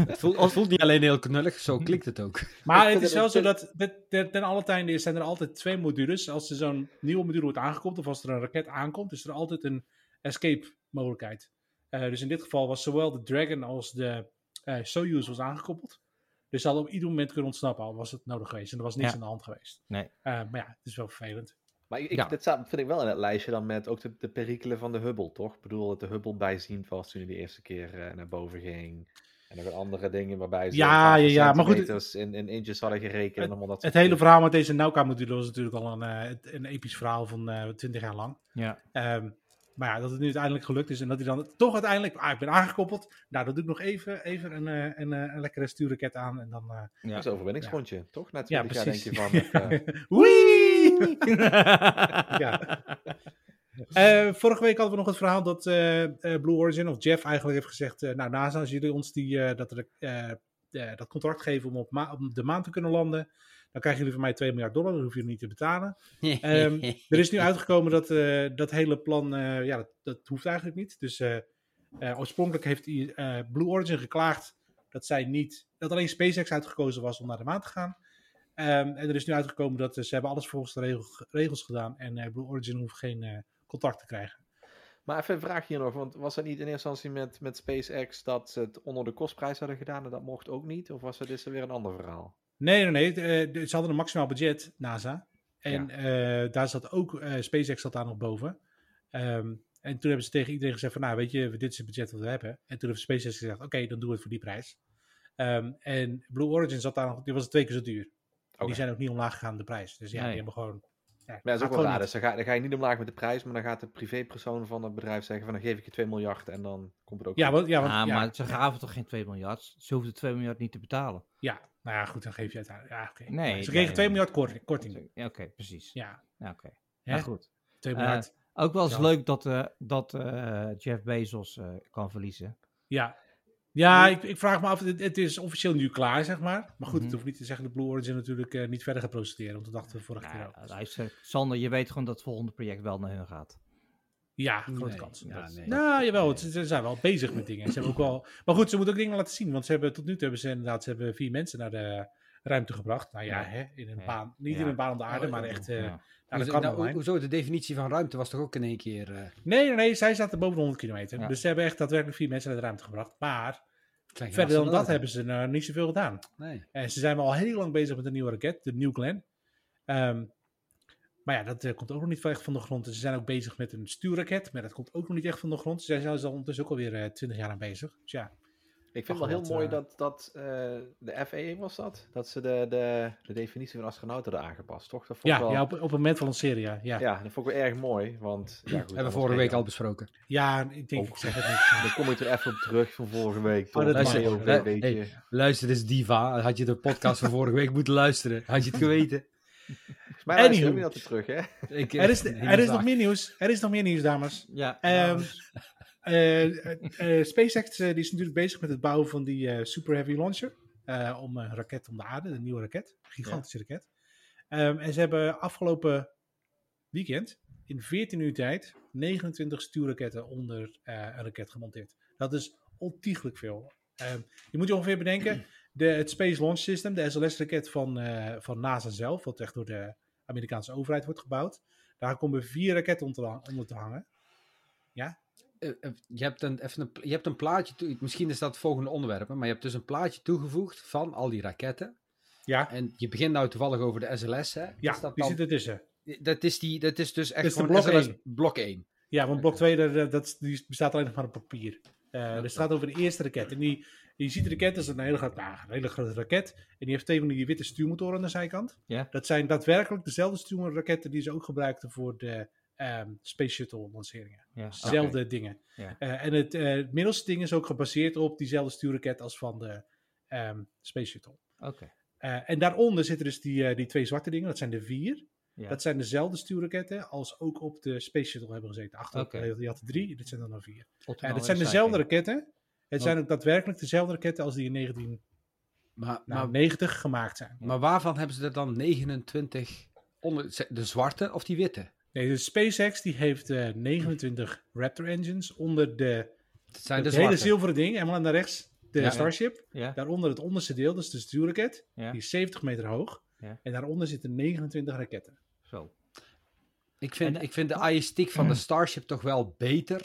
Het voelt, het voelt niet alleen heel knullig, zo klinkt het ook.
Maar
vind
het is
dat
wel
het-
zo dat dit- dit- ten alle tijde zijn er altijd twee modules. Als er zo'n nieuwe module wordt aangekomen of als er een raket aankomt, is er altijd een escape mogelijkheid. Eh, dus in dit geval was zowel de Dragon als de eh Soyuz was aangekoppeld. Dus ze hadden op ieder moment kunnen ontsnappen, al was het nodig geweest. En er was niks
Ja.
aan de hand geweest.
Nee.
Eh, maar ja, het is wel vervelend.
Maar ik,
Ja.
dat staat, vind ik wel in het lijstje dan met ook de, de perikelen van de Hubble, toch? Ik bedoel dat de Hubble bijziend was toen hij de eerste keer eh, naar boven ging. En nog wat andere dingen waarbij ze
Ja,
een aantal
ja, ja, maar goed,
centimeters in, in inches hadden gerekend. en allemaal dat
Het
soort
hele
dingen.
verhaal met deze Nauka-module was natuurlijk al een, eh, een episch verhaal van twintig jaar eh, lang.
Ja.
Ehm, Maar ja, dat het nu uiteindelijk gelukt is en dat hij dan toch uiteindelijk, ah, ik ben aangekoppeld. Nou, dat doe ik nog even, even een, eh, een, eh, een lekkere stuurraket aan en dan... eh,
Ja.
Dat is een overwinningsgrondje, toch? Na
ja,
20 jaar denk je
precies.
van... eh,
Wee! ja. Eh, vorige week hadden we nog het verhaal dat eh, eh, Blue Origin of Jeff eigenlijk heeft gezegd: eh, Nou, NASA, als jullie ons die, eh, dat, er, eh, eh, dat contract geven om op, ma- op de maan te kunnen landen, dan krijgen jullie van mij 2 miljard dollar, dat hoef je niet te betalen. Ehm, er is nu uitgekomen dat eh, dat hele plan, eh, ja, dat, dat hoeft eigenlijk niet. Dus eh, eh, oorspronkelijk heeft I- eh, Blue Origin geklaagd dat zij niet, dat alleen SpaceX uitgekozen was om naar de maan te gaan. Ehm, en er is nu uitgekomen dat eh, ze hebben alles volgens de regel- regels gedaan en eh, Blue Origin hoeft geen eh, contact te krijgen.
Maar even een vraag hier nog, want was het niet in eerste instantie met, met SpaceX dat ze het onder de kostprijs hadden gedaan en dat mocht ook niet? Of was het is er weer een ander verhaal?
Nee, nee, nee. eh, de- ze hadden een maximaal budget, NASA. En eh, daar zat ook, eh, SpaceX zat daar nog boven. Ehm, en toen hebben ze tegen iedereen gezegd van, nou weet je, dit is het budget dat we hebben. En toen heeft SpaceX gezegd, oké, dan doen we het voor die prijs. Ehm, en Blue Origin zat daar nog, die was twee keer zo duur. En
Oké.
Die zijn ook niet omlaag gegaan, de prijs. Dus ja,
Nee.
die hebben gewoon... Ja,
Maar ja, dat is ook wel
gaat gewoon
raar.
niet.
Dus dan ga, dan ga je niet omlaag met de prijs, maar dan gaat de privépersoon van het bedrijf zeggen van dan geef ik je 2 miljard en dan komt het ook
Ja,
goed.
want, ja, want,
Ah,
ja,
maar ze gaven toch geen 2 miljard? Ze hoefden 2 miljard niet te betalen.
ja, nou ja, goed, dan geef je het aan. Ja, oké.
Nee,
ze
nee,
kregen 2
nee.
miljard korting. korting.
Ja, oké, precies. Ja,
Ja,
oké.
hè?
Nou, goed.
2
Eh,
miljard.
Ook wel eens
Ja.
leuk dat, eh, dat eh, Jeff Bezos eh, kan verliezen.
Ja, ja ik, ik vraag me af, het, het is officieel nu klaar, zeg maar. Maar goed, het
Mhm.
hoeft niet te zeggen dat Blue Origin natuurlijk eh, niet verder gaat procederen, want dat dachten we vorige keer
Nou,
ook.
luister, Sander, je weet gewoon dat het volgende project wel naar hun gaat.
Ja, grote
Nee,
kans.
ja, nee.
nou, jawel, ze, ze zijn wel bezig met dingen. Ze hebben ook wel, maar goed, ze moeten ook dingen laten zien, want ze hebben, tot nu toe hebben ze inderdaad ze hebben vier mensen naar de ruimte gebracht. Nou ja,
Ja.
hè, in een
Ja.
baan, niet
Ja.
in een baan om de aarde,
Oh,
maar
ja.
echt eh
Ja.
naar de
Hoezo- nou,
Karmelijn.
hoezo, de definitie van ruimte was toch ook in één keer... eh,
Nee, nee, nee, zij zaten boven de 100 kilometer.
Ja.
Dus ze hebben echt daadwerkelijk vier mensen naar de ruimte gebracht. Maar
klein
verder dan dat
astronauten?
hebben ze nou niet zoveel gedaan.
Nee.
En Eh, ze zijn al heel lang bezig met een nieuwe raket, de New Glenn. Ehm, maar ja, dat eh, komt ook nog niet echt van de grond. En ze zijn ook bezig met een stuurraket, maar dat komt ook nog niet echt van de grond. Ze zijn zelfs al ondertussen ook alweer eh 20 jaar aan bezig. Dus ja,
Ik vind
Ach,
het wel
wat,
heel mooi
eh,
dat, dat eh, de FAA was dat, dat ze de, de, de definitie van astronaut hadden aangepast, toch? Dat vond
ja,
ik wel,
ja op, op het moment van lanceren, ja. Ja, ja.
ja, dat vond ik wel erg mooi, want... Ja, goed,
Hebben
anders
we vorige week
ben
al
je
besproken.
ik denk, ik zeg het
dan-
niet.
Dan kom ik er even op terug van vorige week.
Maar dat
Tom.
mag.
Heel
Hey,
weet
hey.
je.
Luister eens, diva. Had je de podcast van vorige week moeten luisteren. Had je het geweten.
Volgens mij luister
Anywho.
je ook niet altijd terug, hè?
Ik,
Er is,
eh,
er is nog meer nieuws. Er is nog meer nieuws, dames.
Ja,
Ehm, eh, eh, eh, SpaceX eh, die is natuurlijk bezig met het bouwen van die eh, Super Heavy Launcher. eh, om een raket om de aarde, een nieuwe raket. Gigantische raket. Ehm, en ze hebben afgelopen weekend in 14 uur tijd 29 stuurraketten onder eh, een raket gemonteerd. Dat is ontiegelijk veel. Ehm, je moet je ongeveer bedenken, de, het Space Launch System, de SLS-raket van, eh, van NASA zelf, wat echt door de Amerikaanse overheid wordt gebouwd, daar komen vier raketten onder te hang- onder te hangen.
eh, eh, je, hebt een, even een, pla- je hebt een plaatje, toe- misschien is dat het volgende onderwerp, hè, maar je hebt dus een plaatje toegevoegd van al die raketten.
Ja,
En je begint nou toevallig over de SLS, hè?
Ja,
Is dat,
die
dan- eh,
zit ertussen.
dat, is die, dat is dus echt
Dat is de
gewoon
blok
SLS
één.
blok 1.
Ja, want
Eh,
blok 2 dat, dat, die bestaat alleen nog maar op papier. Eh dat staat over de eerste raket. En die, je ziet de raket, dat is een hele, grote, nou, een hele grote raket. En die heeft twee van die witte stuurmotoren aan de zijkant.
Ja.
Dat zijn daadwerkelijk dezelfde stuurmotorraketten die ze ook gebruikten voor de ehm, Space Shuttle lanceringen.
ja.
Dezelfde dingen.
Ja.
Eh, en het, eh, het middelste ding is ook gebaseerd op diezelfde stuurraket als van de ehm, Space Shuttle.
Oké.
Eh, en daaronder zitten dus die, eh, die twee zwarte dingen, dat zijn de vier.
Ja.
Dat zijn dezelfde stuurraketten als ook op de Space Shuttle hebben gezeten. Achter,
Oké.
Die had er drie, dit zijn er dan vier.
Optimaal
Ja, dat zijn
recycling.
dezelfde raketten. Het
Oh.
zijn ook daadwerkelijk dezelfde raketten als die in
Maar, maar,
1990 gemaakt zijn.
maar waarvan hebben ze er dan 29 onder? ze- De zwarte of die witte?
Nee, dus SpaceX die heeft eh, 29 Raptor engines onder de,
Het zijn de
het hele
zwarte.
zilveren ding. Helemaal naar rechts de
Ja.
Starship.
Ja,
Daaronder het onderste deel, dus de stuurraket.
Ja.
Die is 70 meter hoog.
Ja.
En daaronder zitten 29 raketten.
zo.
Ik vind,
En-
ik vind de aïstiek van de Starship toch wel beter.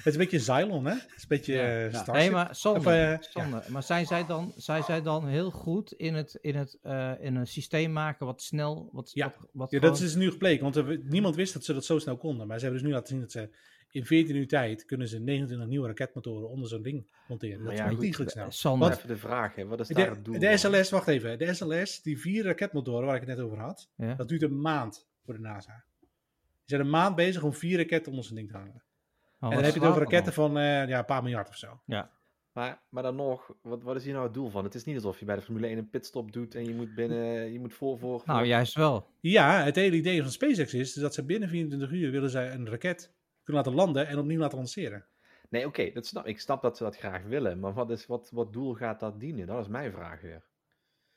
Het is een beetje Zylon, hè? Het is een beetje
Ja.
eh,
Ja.
Starship.
Nee, maar Sander,
Of, eh,
Sander, maar zijn zij, dan, zijn zij dan heel goed in, het, in, het, eh, in een systeem maken wat snel... Wat,
Ja.
wat, wat
Ja, dat
gewoon-
is nu gebleken, want er- niemand wist dat ze dat zo snel konden. Maar ze hebben dus nu laten zien dat ze in 14 uur tijd kunnen ze 29 nieuwe raketmotoren onder zo'n ding monteren. Dat
Maar
is
ja,
ja,
goed,
ontiegelijk
Eh,
snel.
Sander,
Even de vraag, hè. Wat is daar
De,
het doel
de
van?
SLS, wacht even, de SLS, die vier raketmotoren waar ik het net over had,
Ja.
dat duurt een maand voor de NASA. zijn een maand bezig om vier raketten onder zijn ding te hangen.
Oh,
en
wat
dan heb je het over
slaat
raketten
dat
van eh, ja, een paar miljard of zo.
Maar, maar dan nog, wat, wat is hier nou het doel van? Het is niet alsof je bij de Formule 1 een pitstop doet en je moet binnen, je moet voor, voor.
dan? Nou, juist wel.
Ja, het hele idee van SpaceX is dat ze binnen 24 uur willen zij een raket kunnen laten landen en opnieuw laten lanceren.
Nee, oké, dat snap, ik snap dat ze dat graag willen, maar wat, is, wat, wat doel gaat dat dienen? Dat is mijn vraag weer.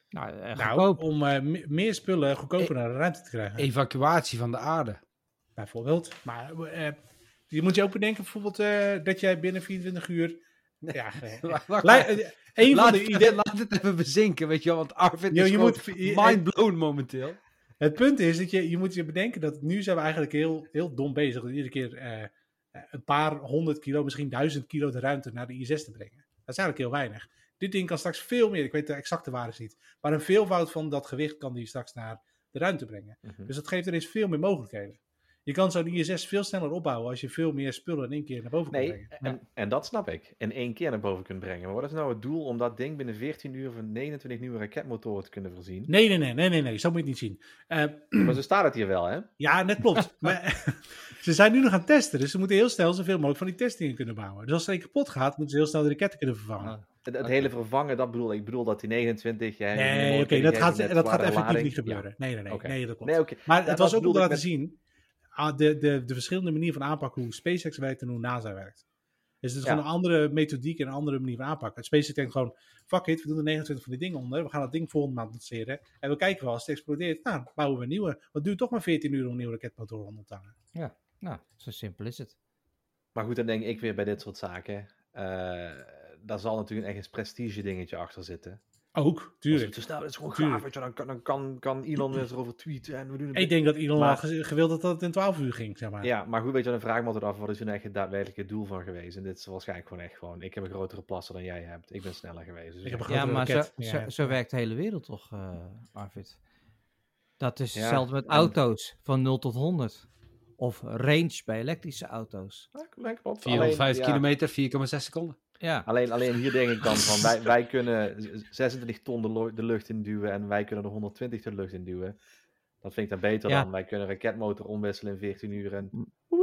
Nou, eh,
Nou,
goedkoop.
om eh, me- meer spullen
Eh,
goedkoper naar de ruimte te krijgen.
Evacuatie van de aarde.
Bijvoorbeeld. Maar eh, je moet je ook bedenken bijvoorbeeld eh, dat jij binnen 24 uur... Ja, eh,
Wacht, wacht,
Lij- eh, een van
laat,
de
het,
ideeën...
laat het even bezinken, weet je wel, want Arvid
Jo,
is
je
gewoon
moet- je-
mind blown momenteel.
Het punt is dat je, je moet je bedenken dat nu zijn we eigenlijk heel, heel dom bezig. Dat iedere keer eh, een paar honderd kilo, misschien duizend kilo de ruimte naar de ISS te brengen. Dat is eigenlijk heel weinig. Dit ding kan straks veel meer, ik weet de exacte waardes niet. Maar een veelvoud van dat gewicht kan die straks naar de ruimte brengen.
Mhm.
Dus dat geeft er eens veel meer mogelijkheden. Je kan zo'n ISS veel sneller opbouwen als je veel meer spullen in één keer naar boven kan
Nee,
brengen.
en, en dat snap ik. In één keer naar boven kunt brengen. Maar wat is nou het doel om dat ding binnen 14 uur van 29 nieuwe raketmotoren te kunnen voorzien?
Nee, nee, nee, nee, nee, nee, zo moet je het niet zien. Eh,
Maar zo staat het hier wel, hè?
Ja, dat klopt. maar ze zijn nu nog aan het testen, dus ze moeten heel snel zoveel mogelijk van die testingen kunnen bouwen. Dus als er een kapot gaat, moeten ze heel snel de raketten kunnen vervangen.
Ah,
Het, het
Oké.
hele vervangen, dat bedoel ik. Ik bedoel dat die 29... Hè,
Oh, nee, oké, dat gaat, dat gaat effectief niet gebeuren. Nee, nee, nee,
Oké.
nee, dat klopt.
Nee, oké.
maar
dat
het was ook om
bedoelde
te
ik
laten
met-
zien ah, de, de, de verschillende manieren van aanpakken hoe SpaceX werkt en hoe NASA werkt. Dus het is
Ja.
gewoon een andere methodiek en een andere manier van aanpakken. SpaceX denkt gewoon, fuck it, we doen er 29 van die dingen onder. We gaan dat ding volgende maand lanceren. En we kijken wel, als het explodeert, nou, bouwen we een nieuwe. Wat duurt toch maar 14 uur om een nieuwe raketmotor onder te hangen.
nou, zo simpel is het.
Maar goed, dan denk ik weer bij dit soort zaken. eh, daar zal natuurlijk echt een prestige dingetje achter zitten.
Ook, tuurlijk.
Als we te snel- Dus nou, dat is gewoon
Tuurlijk.
gaaf, weet je, dan, kan, dan kan, kan Elon weer erover tweeten en we doen het.
Ik denk dat Elon
Maar-
wel gez- gewild had dat het in 12 uur ging, zeg maar.
Ja, maar goed, weet je, dan vraag ik me altijd af, wat is hun echt het daadwerkelijke doel van geweest? En dit is waarschijnlijk gewoon echt gewoon, ik heb een grotere plasser dan jij hebt. Ik ben sneller geweest. Dus
Ik heb een
Ja,
grotere
maar zo,
raket.
zo,
Ja.
zo werkt de hele wereld toch, eh, Arvid? Dat is
Ja,
hetzelfde met
en-
auto's van 0 tot 100. Of range bij elektrische auto's.
Ja, klopt. Alleen,
405
ja,
kilometer, 4,6 seconden.
Ja,
Alleen, alleen hier denk ik dan van, wij, wij kunnen z- 26 ton de, lo- de lucht induwen en wij kunnen er 120 de lucht induwen. Dat vind ik dan beter
Ja.
dan, wij kunnen een raketmotor omwisselen in 14 uur en...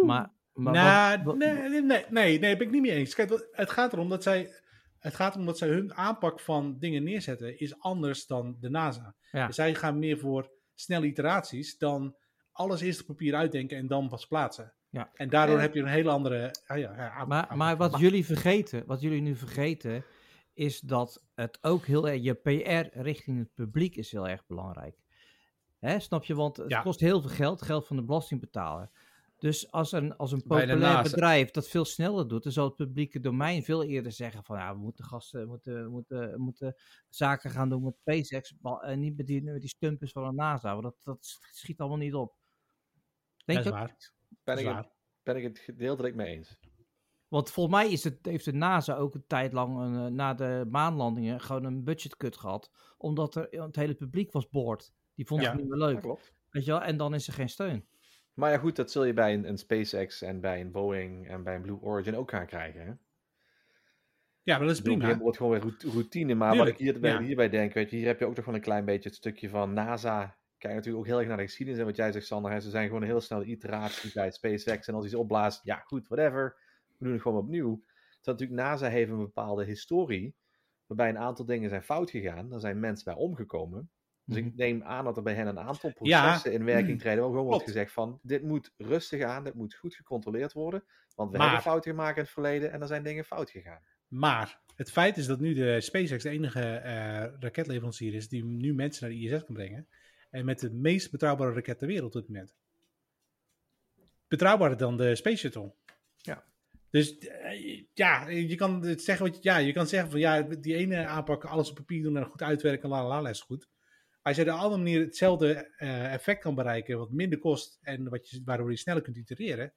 maar... maar
Nou,
wat- wat-
nee, nee, nee, nee, nee, ben ik niet mee eens. Kijk, wat- het gaat erom dat zij, het gaat erom dat zij hun aanpak van dingen neerzetten is anders dan de NASA.
Ja.
Zij gaan meer voor snelle iteraties dan alles eerst op papier uitdenken en dan pas plaatsen.
Ja.
En daardoor
Ja.
heb je een hele andere ah ja, ja, aanpak-
Maar,
aanpak.
maar wat jullie vergeten, wat jullie nu vergeten, is dat het ook heel erg, je PR richting het publiek is heel erg belangrijk. Hè, snap je? Want het
Ja.
kost heel veel geld, geld van de belastingbetaler. Dus als een, als een
Bij de
populair
NASA.
bedrijf dat veel sneller doet, dan zal het publieke domein veel eerder zeggen van ja, we moeten gasten, we moeten, we moeten, we moeten zaken gaan doen met SpaceX, ba- en niet met die, met die stumpers van de NASA, want dat, dat schiet allemaal niet op.
Dat
Denk
is
je
waar.
Ben
Dat
ik,
is
het,
waar.
ben ik het gedeeltelijk mee eens.
Want volgens mij is het, heeft de NASA ook een tijd lang een, eh, na de maanlandingen gewoon een budgetcut gehad. Omdat er, het hele publiek was boord. Die vond
Ja.
het niet meer
Ja,
leuk.
klopt.
Weet je wel? En dan is er geen steun.
Maar ja, goed, dat zul je bij een, een SpaceX en bij een Boeing en bij een Blue Origin ook gaan krijgen. Hè?
Ja, maar dat is
Ik bedoel, op een gegeven
prima.
moment wordt gewoon weer rout- routine. Maar
Tuurlijk,
wat ik hierbij,
ja.
hierbij denk, weet je, hier heb je ook toch wel een klein beetje het stukje van NASA. Kijk natuurlijk ook heel erg naar de geschiedenis. En wat jij zegt, Sander, hè, ze zijn gewoon een heel snelle iteratie bij SpaceX. En als iets opblaast, ja goed, whatever. We doen het gewoon opnieuw. Terwijl natuurlijk NASA heeft een bepaalde historie. Waarbij een aantal dingen zijn fout gegaan. Daar zijn mensen bij omgekomen. Dus
Mhm.
ik neem aan dat er bij hen een aantal
Ja. Mhm.
processen in werking treden. Waar gewoon wordt
Klopt.
gezegd van, dit moet rustig aan. Dit moet goed gecontroleerd worden. Want we
Maar-
hebben fouten gemaakt in het verleden. En er zijn dingen fout gegaan.
Maar het feit is dat nu de SpaceX de enige eh, raketleverancier is die nu mensen naar de ISS kan brengen. En met de meest betrouwbare raket ter wereld op dit moment. Betrouwbaarder dan de Space Shuttle.
Ja.
Dus eh, ja, je kan het zeggen wat je, ja, je kan zeggen van ja, die ene aanpak, alles op papier doen en goed uitwerken, la la la, la, is goed. Als je op de andere manier hetzelfde eh, effect kan bereiken, wat minder kost en wat je, waardoor je sneller kunt itereren.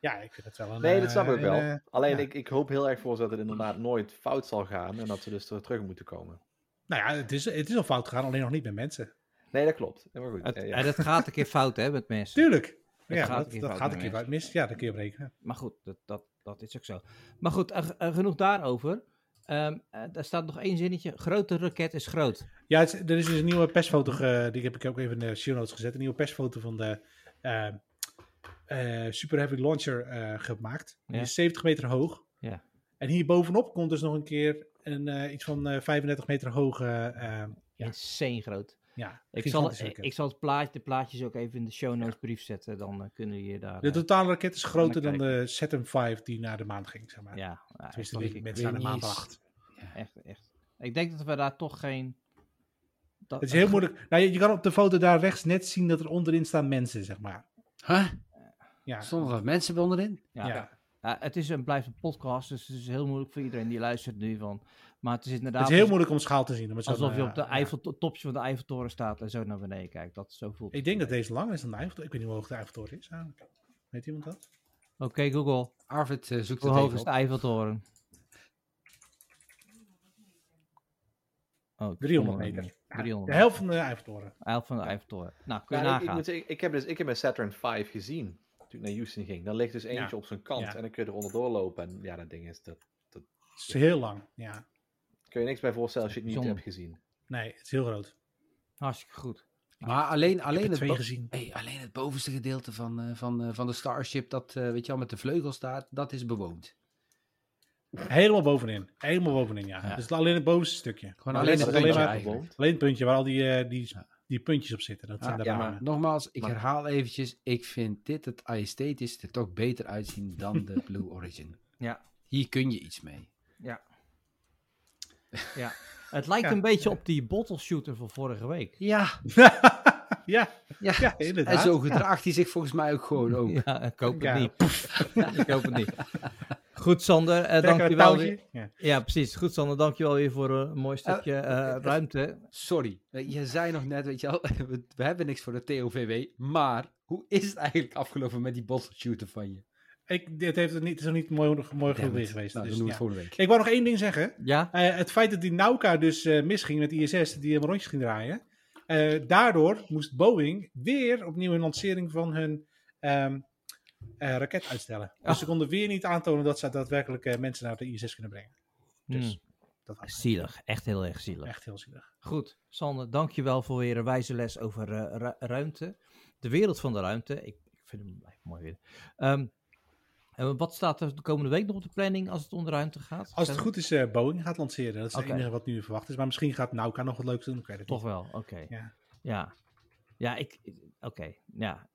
Ja, ik vind het wel een.
Nee, dat
eh,
snap ik
een,
wel.
eh,
Alleen
ja.
ik, ik hoop heel erg voor ze dat het inderdaad nooit fout zal gaan en dat ze dus er terug moeten komen.
Nou ja, het is, het is al fout gegaan, alleen nog niet bij mensen.
Nee, dat klopt. Ja, Maar goed.
Het,
ja, ja.
En het gaat een keer fout hè, met mensen.
Tuurlijk.
Het
ja,
gaat een
dat,
keer
dat
fout
gaat
bij
een keer
mensen.
fout mis. Ja, dat kun je berekenen.
Maar goed, dat, dat, dat is ook zo. Maar goed, eh, eh, genoeg daarover. Ehm eh, daar staat nog één zinnetje. Grote raket is groot.
Ja, het is- er is dus een nieuwe persfoto, ge- die heb ik ook even in de show notes gezet. Een nieuwe persfoto van de eh, eh, Super Heavy Launcher eh, gemaakt. Die
Ja.
is 70 meter hoog.
Ja.
En hier bovenop komt dus nog een keer een, eh, iets van eh, 35 meter hoge... eh, Ja.
Insane groot.
ja,
Ik zal,
gigantische
ik,
raket.
ik zal het plaatje, de plaatjes ook even in de show notes brief zetten. Dan eh, kunnen jullie daar...
De
eh,
totale raket is
Kan
groter dan
ik
de Saturn 5 die naar de maan ging, zeg maar.
ja, nou, echt,
Tenminste, die
ik,
mensen aan de
weet
maan
niet eens.
wachten.
echt, echt. Ik denk dat we daar toch geen... Dat,
Het is heel moeilijk. Nou, je, je kan op de foto daar rechts net zien dat er onderin staan mensen, zeg maar.
Huh?
Ja.
Stonden er wat mensen onderin?
Ja. Ja, het is een, blijft een podcast, dus het is heel moeilijk voor iedereen die luistert nu. Van, maar het is inderdaad...
Het is heel moeilijk om schaal te zien. maar zo'n,
Alsof je op de
eh, ja.
Eiffel, het topje van de Eiffeltoren staat en zo naar beneden kijkt. Dat, zo voelt
Ik
het
denk
een
dat deze langer is dan de Eiffeltoren. Ik weet niet hoe hoog de Eiffeltoren is eigenlijk. Weet iemand dat?
beetje. Oké Google,
Arvid eh, zoekt
hoe
het
hoog
even
is de
op.
Eiffeltoren? Oh, ik
300
vond hem
meter.
niet.
Ja,
300
Oh.
de helft van de Eiffeltoren.
Eifel van de Eiffeltoren. Nou, kun
Ja,
je
ik- ik,
nagaan.
moet zeggen, ik heb dus, ik heb mijn Saturn 5 gezien toen ik naar Houston ging. Dan ligt dus eentje op zijn kant
Ja.
en dan kun je er onderdoor lopen. En ja, dat ding is, dat
Het is heel lang, ja.
kun je niks bij voorstellen als je het niet
Bijzonder.
hebt gezien.
Nee, het is heel groot. Ik
Hartstikke goed.
Maar alleen, alleen,
heb er
het
twee
bo-
gezien.
hey, alleen het bovenste gedeelte van, eh, van, eh, van de Starship, dat eh, weet je al, met de vleugel staat, dat is bewoond.
Helemaal bovenin. Helemaal bovenin, ja.
Ja.
Dus alleen het bovenste stukje.
Gewoon
Maar
alleen
de
het
rest
Maar
is
puntje
alleen maar-
eigenlijk.
bewoond.
Alleen het puntje waar al die, eh, die,
Ja.
die puntjes op zitten. Dat
Ah,
zijn de
ja,
banen.
maar-
Nogmaals, ik
Maar-
herhaal eventjes, ik vind dit het aesthetisch er toch beter uitzien dan de Blue Origin.
Ja.
Hier kun je iets mee.
Het lijkt
Ja.
een beetje op die bottle shooter van vorige week.
Ja,
ja,
ja.
ja,
En
inderdaad.
zo gedraagt hij zich volgens mij ook gewoon ook.
Ja, ik hoop het
Ja.
niet. ik hoop het niet. Goed Sander, eh
Trekken we het
dankjewel.
touwtje. Oh.
weer-
Ja.
Ja, precies. Goed Sander, dankjewel weer voor eh, een mooi stukje eh, ruimte.
Sorry, eh, je zei nog net, weet je wel, we, we hebben niks voor de TOVW, maar hoe is het eigenlijk afgelopen met die bottle shooter van je?
Ik, dit heeft het, niet, het is nog niet mooi, mooi genoeg
Damn
weer
it.
geweest.
Nou,
dus,
dan doen we
ja.
het volgende week.
Ik wou nog één ding zeggen.
Ja?
Eh, het feit dat die Nauka dus eh, misging met ISS, die hem rondjes ging draaien. eh, daardoor moest Boeing weer opnieuw een lancering van hun ehm, eh, raket uitstellen. Dus
Ah.
ze konden weer niet aantonen dat ze daadwerkelijk eh, mensen naar de ISS kunnen brengen. Dus
Hmm.
dat was
Zielig, echt heel erg zielig.
echt heel zielig.
Goed, Sander, dankjewel voor weer een wijze les over eh, ru- ruimte. De wereld van de ruimte. Ik, ik vind hem echt mooi weer. Ehm, en wat staat er de komende week nog op de planning als het om de ruimte gaat?
Als het goed is, eh, Boeing gaat lanceren. Dat is
Oké.
het enige wat nu verwacht is. Maar misschien gaat Nauka nog wat leuks doen. Ik weet het
Toch
niet.
wel, oké.
Ja.
Ja, ja ik, ik- oké, ja.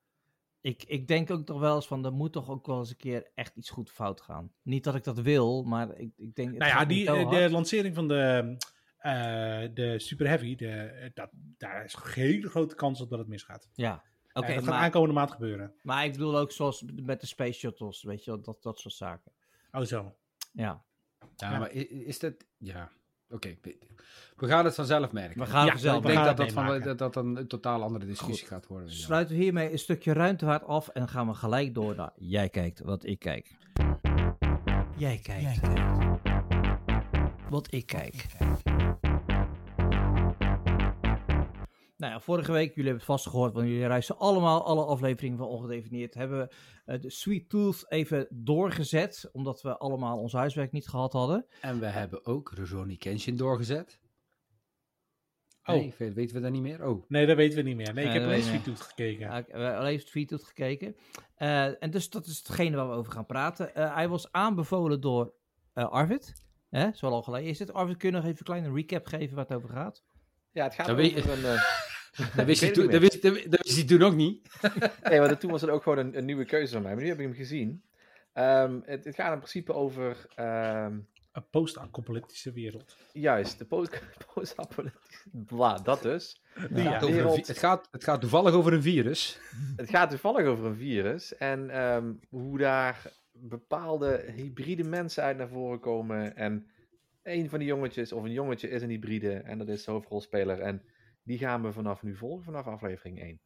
Ik, ik denk ook toch wel eens van, er moet toch ook wel eens een keer echt iets goed fout gaan. Niet dat ik dat wil, maar ik, ik denk... het
Nou ja,
gaat niet
die,
zo
eh, de
hard.
lancering van de, eh, de Super Heavy, de, eh, dat, daar is een hele grote kans op dat het misgaat.
Ja, oké,
Eh, dat gaat
maar,
aankomende maand gebeuren.
maar ik bedoel ook zoals met de space shuttles, weet je wel, dat, dat soort zaken.
Oh zo.
Ja,
Ja,
Ja.
maar i- i- is dat... Ja, oké. We- We gaan het vanzelf merken.
we gaan
Ja,
vanzelf
ik denk
gaan
dat
het
dat, van,
meemaken.
dat dat dan een totaal andere discussie
Goed.
gaat worden. ja.
Sluiten we hiermee een stukje ruimtevaart af en gaan we gelijk door naar jij kijkt wat ik kijk. Jij kijkt. Wat ik kijk. Nou ja, vorige week, jullie hebben het vast gehoord, want jullie reizen allemaal alle afleveringen van Ongedefinieerd. Hebben we eh, de Sweet Tooth even doorgezet, omdat we allemaal ons huiswerk niet gehad hadden.
En we hebben ook Ronnie Kenshin doorgezet.
Oh.
Oh. Nee, veel- weten we dat niet meer? Oh,
Nee, dat weten we niet meer. Nee, ik
Nee,
heb
dat
alleen
weten we
Sweet Tooth gekeken.
Ja, ik heb eh, wel even Sweet Tooth gekeken. Eh, en dus dat is hetgene waar we over gaan praten. Eh, hij was aanbevolen door eh, Arvid. Hè, zo al geleden is het. Arvid, kun je nog even een kleine recap geven waar het over gaat?
Ja, het gaat
Dan
over
weet je-
een... eh,
dat wist,
weet
hij
het
toen,
niet
dat, wist, dat wist- dat wist hij toen ook niet.
Nee, maar dat- toen was het ook gewoon een, een nieuwe keuze van mij. Maar nu heb ik hem gezien. Ehm, het, het gaat in principe over... ehm,
Een post-apocalyptische wereld.
juist, de post- post-apocalyptische... Bla, dat dus.
Die, ja.
Het gaat over een vi-
wereld.
het, gaat, het gaat toevallig over een virus.
Het gaat toevallig over een virus. En ehm, hoe daar bepaalde hybride mensen uit naar voren komen. En een van die jongetjes, of een jongetje, is een hybride. En dat is de hoofdrolspeler. En die gaan we vanaf nu volgen, vanaf aflevering 1.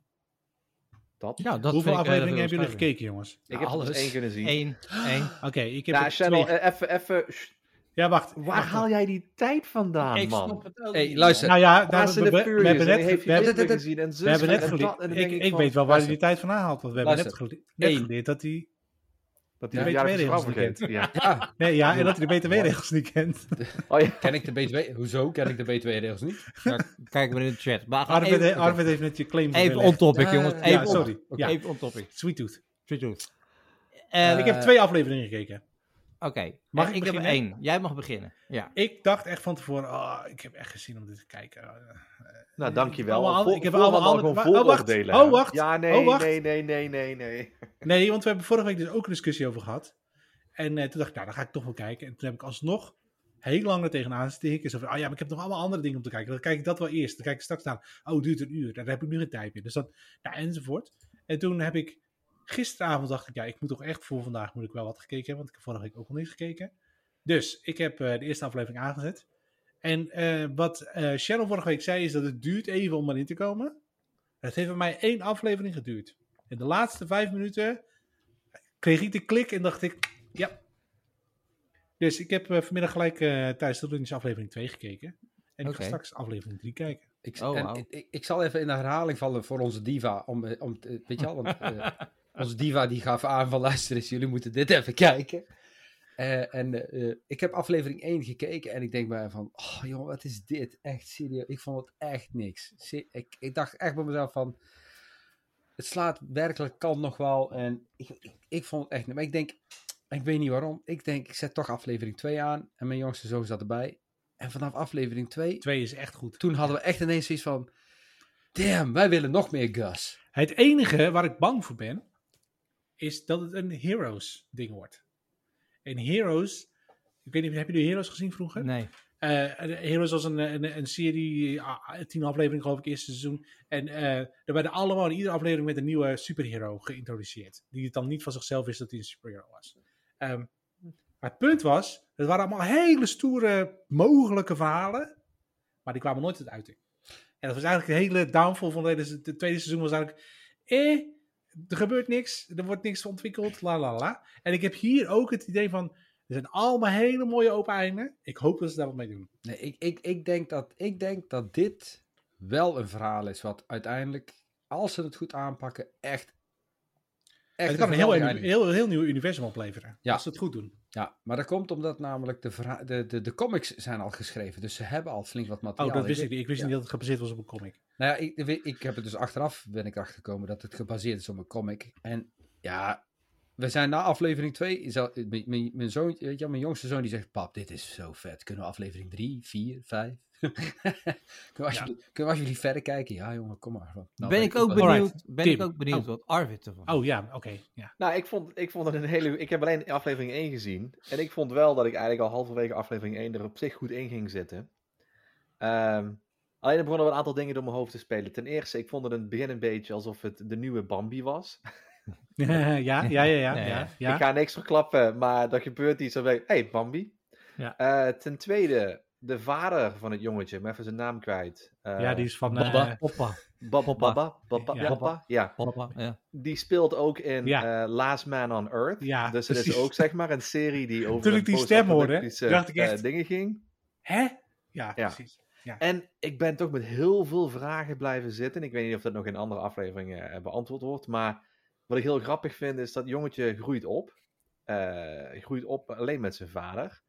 Dat?
Ja, dat eh,
Hoeveel afleveringen hebben jullie gekeken, jongens?
ik heb er dus
alles.
één kunnen zien.
Eén. één.
Oké, ik heb
Ja,
er
Channel,
twee.
eh, even, even... sh-
Ja, wacht.
Waar
wacht.
haal jij die tijd vandaan,
Ik
man?
snap het ook
hey,
niet,
luister.
Nou ja, daar,
Fast
we,
and the
we- we
Furious,
hebben
en
net,
die heeft
we,
hij
hebben-
dit weer gezien en zus
we hebben net
en dat,
geleerd.
en dan
Ik,
denk
ik
van,
weet wel waar hij die
luister.
tijd vandaan haalt. Want we hebben net,
Luister.
gele- net
Eén.
geleerd dat hij...
Dat die
Ja,
verjaardag
weet
zijn vrouw
het niet.
vergeet. Ja.
Ja,
Nee, ja, en dat hij de BTW-regels niet kent.
Oh, ja.
ken ik de BTW? Hoezo ken ik de BTW-regels niet?
Kijk maar in de chat. Maar we gaan
Arvid,
even,
Arvid heeft net je claim
even
verlegd.
on topic,
Eh,
jongens.
ja,
Even,
Ja,
on,
sorry. Ja,
even on topic.
Sweet Tooth. Sweet Tooth.
Eh,
ik heb twee afleveringen gekeken.
Oké,
Mag
Eh,
ik
ik heb
beginnen?
één. Jij mag beginnen. Ja.
Ik dacht echt van tevoren, ah, ik heb echt geen zin om dit te kijken. Eh,
Nou,
eh,
dankjewel.
allemaal
Vol-
andere- ik heb
vooral
allemaal
dan
andere-
gewoon
wa- oh, wacht.
vooroordelen.
Oh, wacht.
Ja, nee,
Oh, wacht.
nee, nee, nee, nee, nee.
Nee, want we hebben vorige week dus ook een discussie over gehad. En eh, toen dacht ik, nou, dan ga ik toch wel kijken. En toen heb ik alsnog heel lang er tegenaan zitten hikken. Zo van, oh ja, maar ik heb nog allemaal andere dingen om te kijken. Dan kijk ik dat wel eerst. Dan kijk ik straks naar, oh, het duurt een uur. Daar heb ik nu geen tijd meer. Dus dat, nou, enzovoort. En toen heb ik, gisteravond dacht ik, ja, ik moet toch echt voor vandaag moet ik wel wat gekeken hebben. Want ik heb vorige week ook al niks gekeken. Dus ik heb eh, de eerste aflevering aangezet. En eh, wat eh Cheryl vorige week zei, is dat het duurt even om erin te komen. Het heeft bij mij één aflevering geduurd. In de laatste vijf minuten kreeg ik de klik en dacht ik, ja. Dus ik heb eh, vanmiddag gelijk eh, tijdens de lunch aflevering 2 gekeken. En ik
Oké.
ga straks aflevering 3 kijken.
Ik,
Oh,
en
wauw.
ik- ik, ik zal even in de herhaling vallen voor onze diva. Om, eh, om, te- weet je al, want eh, onze diva die gaf aan van luister eens, jullie moeten dit even kijken. Eh, en eh, eh, ik heb aflevering 1 gekeken en ik denk bij mij van, oh jongen, wat is dit? Echt serieus, ik vond het echt niks. Se- ik, ik dacht echt bij mezelf van, het slaat werkelijk kan nog wel. En ik, ik, ik vond het echt niks. Maar ik denk, ik weet niet waarom, ik denk ik zet toch aflevering 2 aan. En mijn jongste zoon zat erbij. En vanaf aflevering 2
2 is echt goed.
toen hadden we echt ineens zoiets van... Damn, wij willen nog meer Gus.
Het enige waar ik bang voor ben, is dat het een Heroes ding wordt. En Heroes, ik weet niet, heb je de Heroes gezien vroeger?
Nee.
Eh, en Heroes was een, een, een serie, ah, tien afleveringen geloof ik, eerste seizoen. En eh, er werden allemaal in iedere aflevering met een nieuwe superhero geïntroduceerd. Die het dan niet van zichzelf wist dat hij een superhero was. Ehm, maar het punt was, het waren allemaal hele stoere mogelijke verhalen. Maar die kwamen nooit tot uiting. En dat was eigenlijk de hele downfall van het hele- het tweede seizoen. was eigenlijk, eh, er gebeurt niks. Er wordt niks ontwikkeld, la la la. En ik heb hier ook het idee van, er zijn allemaal hele mooie open einden. Ik hoop dat ze daar wat mee doen.
Nee, ik, ik, ik, denk dat, ik denk dat dit wel een verhaal is wat uiteindelijk, als ze het goed aanpakken, echt... echt
het kan een heel,
geweldige
heel,
eindiging-
heel, nieuw universum opleveren.
Ja.
Als ze het goed doen. Oh,
Ja, maar dat komt omdat namelijk de, verha- de, de, de comics zijn al geschreven. Dus ze hebben al flink wat
Oh,
materiaal.
dat wist ik niet. Ik wist
ja.
niet dat het gebaseerd was op een comic.
Nou ja, ik, we- ik heb het dus achteraf ben ik erachter gekomen dat het gebaseerd is op een comic. En ja, we zijn na aflevering 2. Mijn, mijn, mijn, zoon, weet je, wel, mijn jongste zoon die zegt: Pap, dit is zo vet. Kunnen we aflevering 3, 4, 5? Kunnen we alsjeblieft, kunnen we alsjeblieft verder kijken? Ja, jongen, kom maar. Nou,
ben ik ook
wel-
benieuwd,
Alright,
ben
Tim.
ik ook benieuwd
Oh.
wat Arvid ervan
Oh ja, oké. Ja.
Nou, ik vond, ik vond het een hele. Ik heb alleen aflevering 1 gezien. En ik vond wel dat ik eigenlijk al halverwege aflevering 1 er op zich goed in ging zitten. Ehm, alleen er begonnen wel een aantal dingen door mijn hoofd te spelen. Ten eerste, ik vond het in het begin een beetje alsof het de nieuwe Bambi was.
ja, ja, ja, ja.
Nee.
ja,
Ik
ja.
ga niks verklappen, maar er gebeurt iets. Dan denk ik, hey, Bambi.
Ja.
Eh, ten tweede, de vader van het jongetje, maar even zijn naam kwijt. Eh,
Ja, die is van... eh,
Papa, Papa,
Ba- ba- ba- ba- ba- ba-
Ja.
Papa, Ja.
Papa. Ja.
die speelt ook in
Ja.
eh, Last Man on Earth.
Ja,
dus het is
precies.
ook zeg maar een serie die over
Toen
een
ik die stem hoorde,
post-apocalyptische,
dacht ik
eh,
echt-
dingen ging.
Hè? Ja, precies.
En ik ben toch met heel veel vragen blijven zitten. Ik weet niet of dat nog in andere afleveringen eh, beantwoord wordt. Maar wat ik heel grappig vind is dat jongetje groeit op. Eh, Hij groeit op alleen met zijn vader.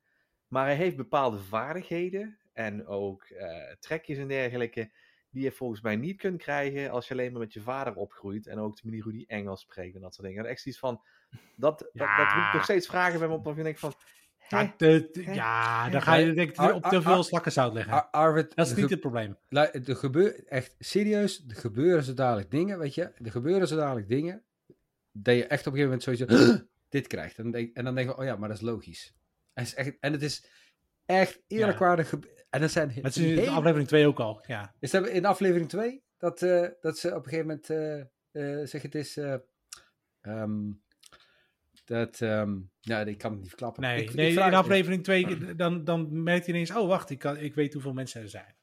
Maar hij heeft bepaalde vaardigheden en ook eh, trekjes en dergelijke. Die je volgens mij niet kunt krijgen als je alleen maar met je vader opgroeit. En ook de manier hoe die Engels spreekt en dat soort dingen. En echt iets van, dat, dat, dat roept
Ja.
nog steeds vragen bij me op. waarvan ik denk van, hè?
Ja, de- de- ja, dan ga je denk ik
Ar-
op te
Ar-
veel
Ar-
slakken zout leggen.
Ar- Arvid,
Dat is
de
niet
ge-
het probleem.
lu- er gebeur, echt serieus, er gebeuren zo dadelijk dingen, weet je. Er gebeuren zo dadelijk dingen dat je echt op een gegeven moment zoiets dit krijgt. En dan denk, en dan denk je, van, oh ja, maar dat is logisch. En het is echt, en het is echt eerlijkwaardig. gebe- En dat zijn
Dat is
hele-
in de aflevering 2 ook al. Ja.
Is dat in aflevering 2 dat, eh, dat ze op een gegeven moment eh, eh, zeggen: Het is. eh, ehm, dat. ehm nou, ik kan het niet verklappen.
Nee,
ik,
nee
ik vraag-
in aflevering 2 dan, dan merk je ineens... Oh, wacht, ik, kan, ik weet hoeveel mensen er zijn.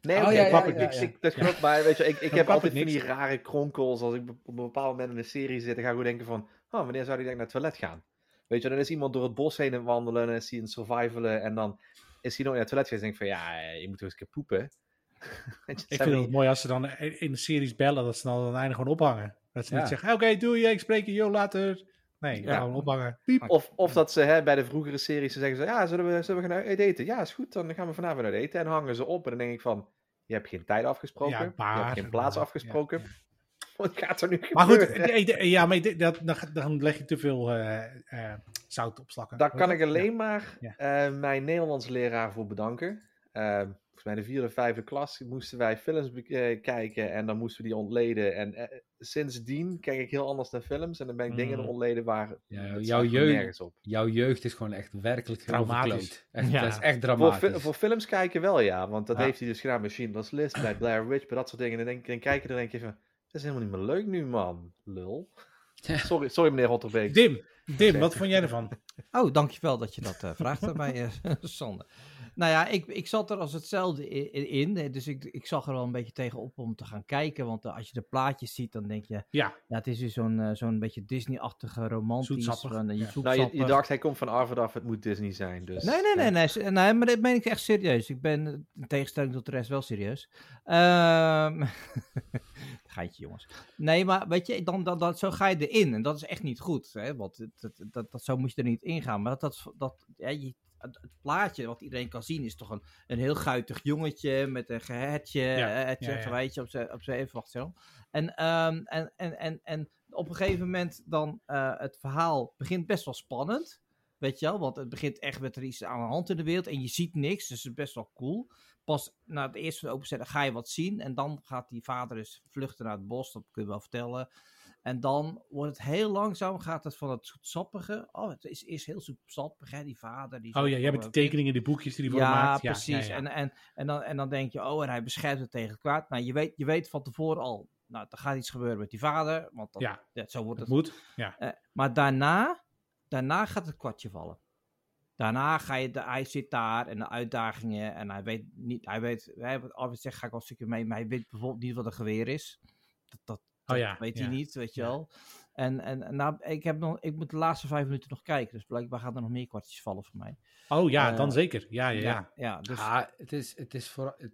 Nee,
Oh,
oké,
ja,
ik-
ja,
ik-
ja,
ik-
ja.
ik- dat klopt. Maar weet je, ik, ik heb
pap
altijd
ik
van die
niks.
rare kronkels. Als ik be- op een bepaald moment in een serie zit, dan ga ik gewoon denken van... Oh, wanneer zou ik denk naar het toilet gaan? Weet je, dan is iemand door het bos heen aan het wandelen en dan is hij een survivalen. En dan is hij nog naar het toilet geweest en denk ik van... Ja, je moet toch eens een keer poepen. Weet je,
Ik
zijn
vind
van
het
die-
mooi als ze dan in in de series bellen, dat ze dan aan het einde gewoon ophangen. Dat ze
Ja.
niet zeggen, oké, doei, ik spreek je, yo, later. Nee,
Ja.
gewoon ophangen. Piep.
Of, of dat ze hè, bij de vroegere series ze zeggen ze... Ja, zullen we, zullen we gaan uit eten? Ja, is goed, dan gaan we vanavond uit eten. En hangen ze op en dan denk ik van... Je hebt geen tijd afgesproken.
Ja, maar-
je hebt geen plaats
maar,
afgesproken.
ja,
Wat gaat er nu
Maar goed,
gebeuren?
ik denk- ja, maar ik denk dat, dan, dan leg je te veel eh, eh, zout op slakken.
Daar
Hoe
kan
heet
ik
dat? Ja.
alleen maar
Ja.
eh, mijn Nederlands leraar voor bedanken. Eh, volgens mij in de vierde, vijfde klas moesten wij films bekijken en dan moesten we die ontleden. En eh, sindsdien kijk ik heel anders naar films en dan ben ik dingen
Mm.
ontleden waar
Ja,
dat
jouw
slaat gewoon
jeugd-
nergens op.
Jouw jeugd is gewoon echt werkelijk heel
Traumatisch.
verkloot. Echt,
Ja.
Dat is echt
Voor,
dramatisch.
fi- voor films kijken wel, ja. Want dat
Ja.
heeft hij dus gedaan bij Schindler's List, bij Blair Witch, bij dat soort dingen. En dan, denk, dan kijk je er denk je van, dat is helemaal niet meer leuk nu, man. Lul.
Ja.
Sorry, sorry meneer Rotterbeek.
Dim, Dim, wat vond jij ervan?
Oh, dankjewel dat je dat eh, vraagt aan mij, eh, Sander. Nou ja, ik, ik zat er als hetzelfde i- i- in. eh, Dus ik, ik zag er wel een beetje tegenop om te gaan kijken. Want eh, als je de plaatjes ziet, dan denk je...
Ja.
Ja, het is weer zo'n eh, zo'n beetje Disney-achtige romantisch.
Zoetsappig,
van, eh,
ja.
zoetsappig.
Nou, je, je dacht, hij komt van Arvid af, het moet Disney zijn. Dus,
Nee, nee,
eh,
nee, nee, nee, nee, maar dit meen ik echt serieus. Ik ben eh, in tegenstelling tot de rest wel serieus. Ehm Geintje, jongens. Nee, maar weet je, dan, dan, dan, zo ga je erin. En dat is echt niet goed. Hè? Want het- het- dat, dat, zo moet je er niet ingaan. Maar dat, dat, dat, ja, je, het, het plaatje wat iedereen kan zien is toch een, een heel guitig jongetje met een gehetje,
Ja,
eh, hetje,
ja, ja.
gewijtje op zijn, op zijn even, wacht zo. En, ehm, en, en, en, en op een gegeven moment dan, eh, het verhaal begint best wel spannend. Weet je wel, want het begint echt met er iets aan de hand in de wereld en je ziet niks, dus het is best wel cool. Pas na het eerste van de openzetten ga je wat zien en dan gaat die vader dus vluchten naar het bos, dat kun je wel vertellen. En dan wordt het heel langzaam, gaat het van het zoetsappige, oh het is, is heel zoetsappig hè, die vader. Die
Oh
zo-
ja, jij hebt die tekeningen, die boekjes die hij voor
ja,
maakt.
precies. En, en, en, dan, en dan denk je, oh, en hij beschermt het tegen het kwaad. Nou, je weet, je weet van tevoren al, nou, er gaat iets gebeuren met die vader, want dat,
Ja.
dat- zo wordt
dat
het.
moet.
Maar daarna, daarna gaat het kwartje vallen. Daarna ga je, de, hij zit daar en de uitdagingen en hij weet niet, hij weet, hij, wat Arvid zegt, ga ik wel een stukje mee, maar hij weet bijvoorbeeld niet wat een geweer is. Dat, dat,
Oh
dat
ja,
weet
ja,
hij niet, weet je
ja.
wel. En, en en nou, ik, heb nog, ik moet de laatste vijf minuten nog kijken, dus blijkbaar gaan er nog meer kwartjes vallen voor mij.
Oh ja,
Eh,
dan zeker. Ja, ja, ja. Ah,
ja dus
Ja, het is, het is voor, het-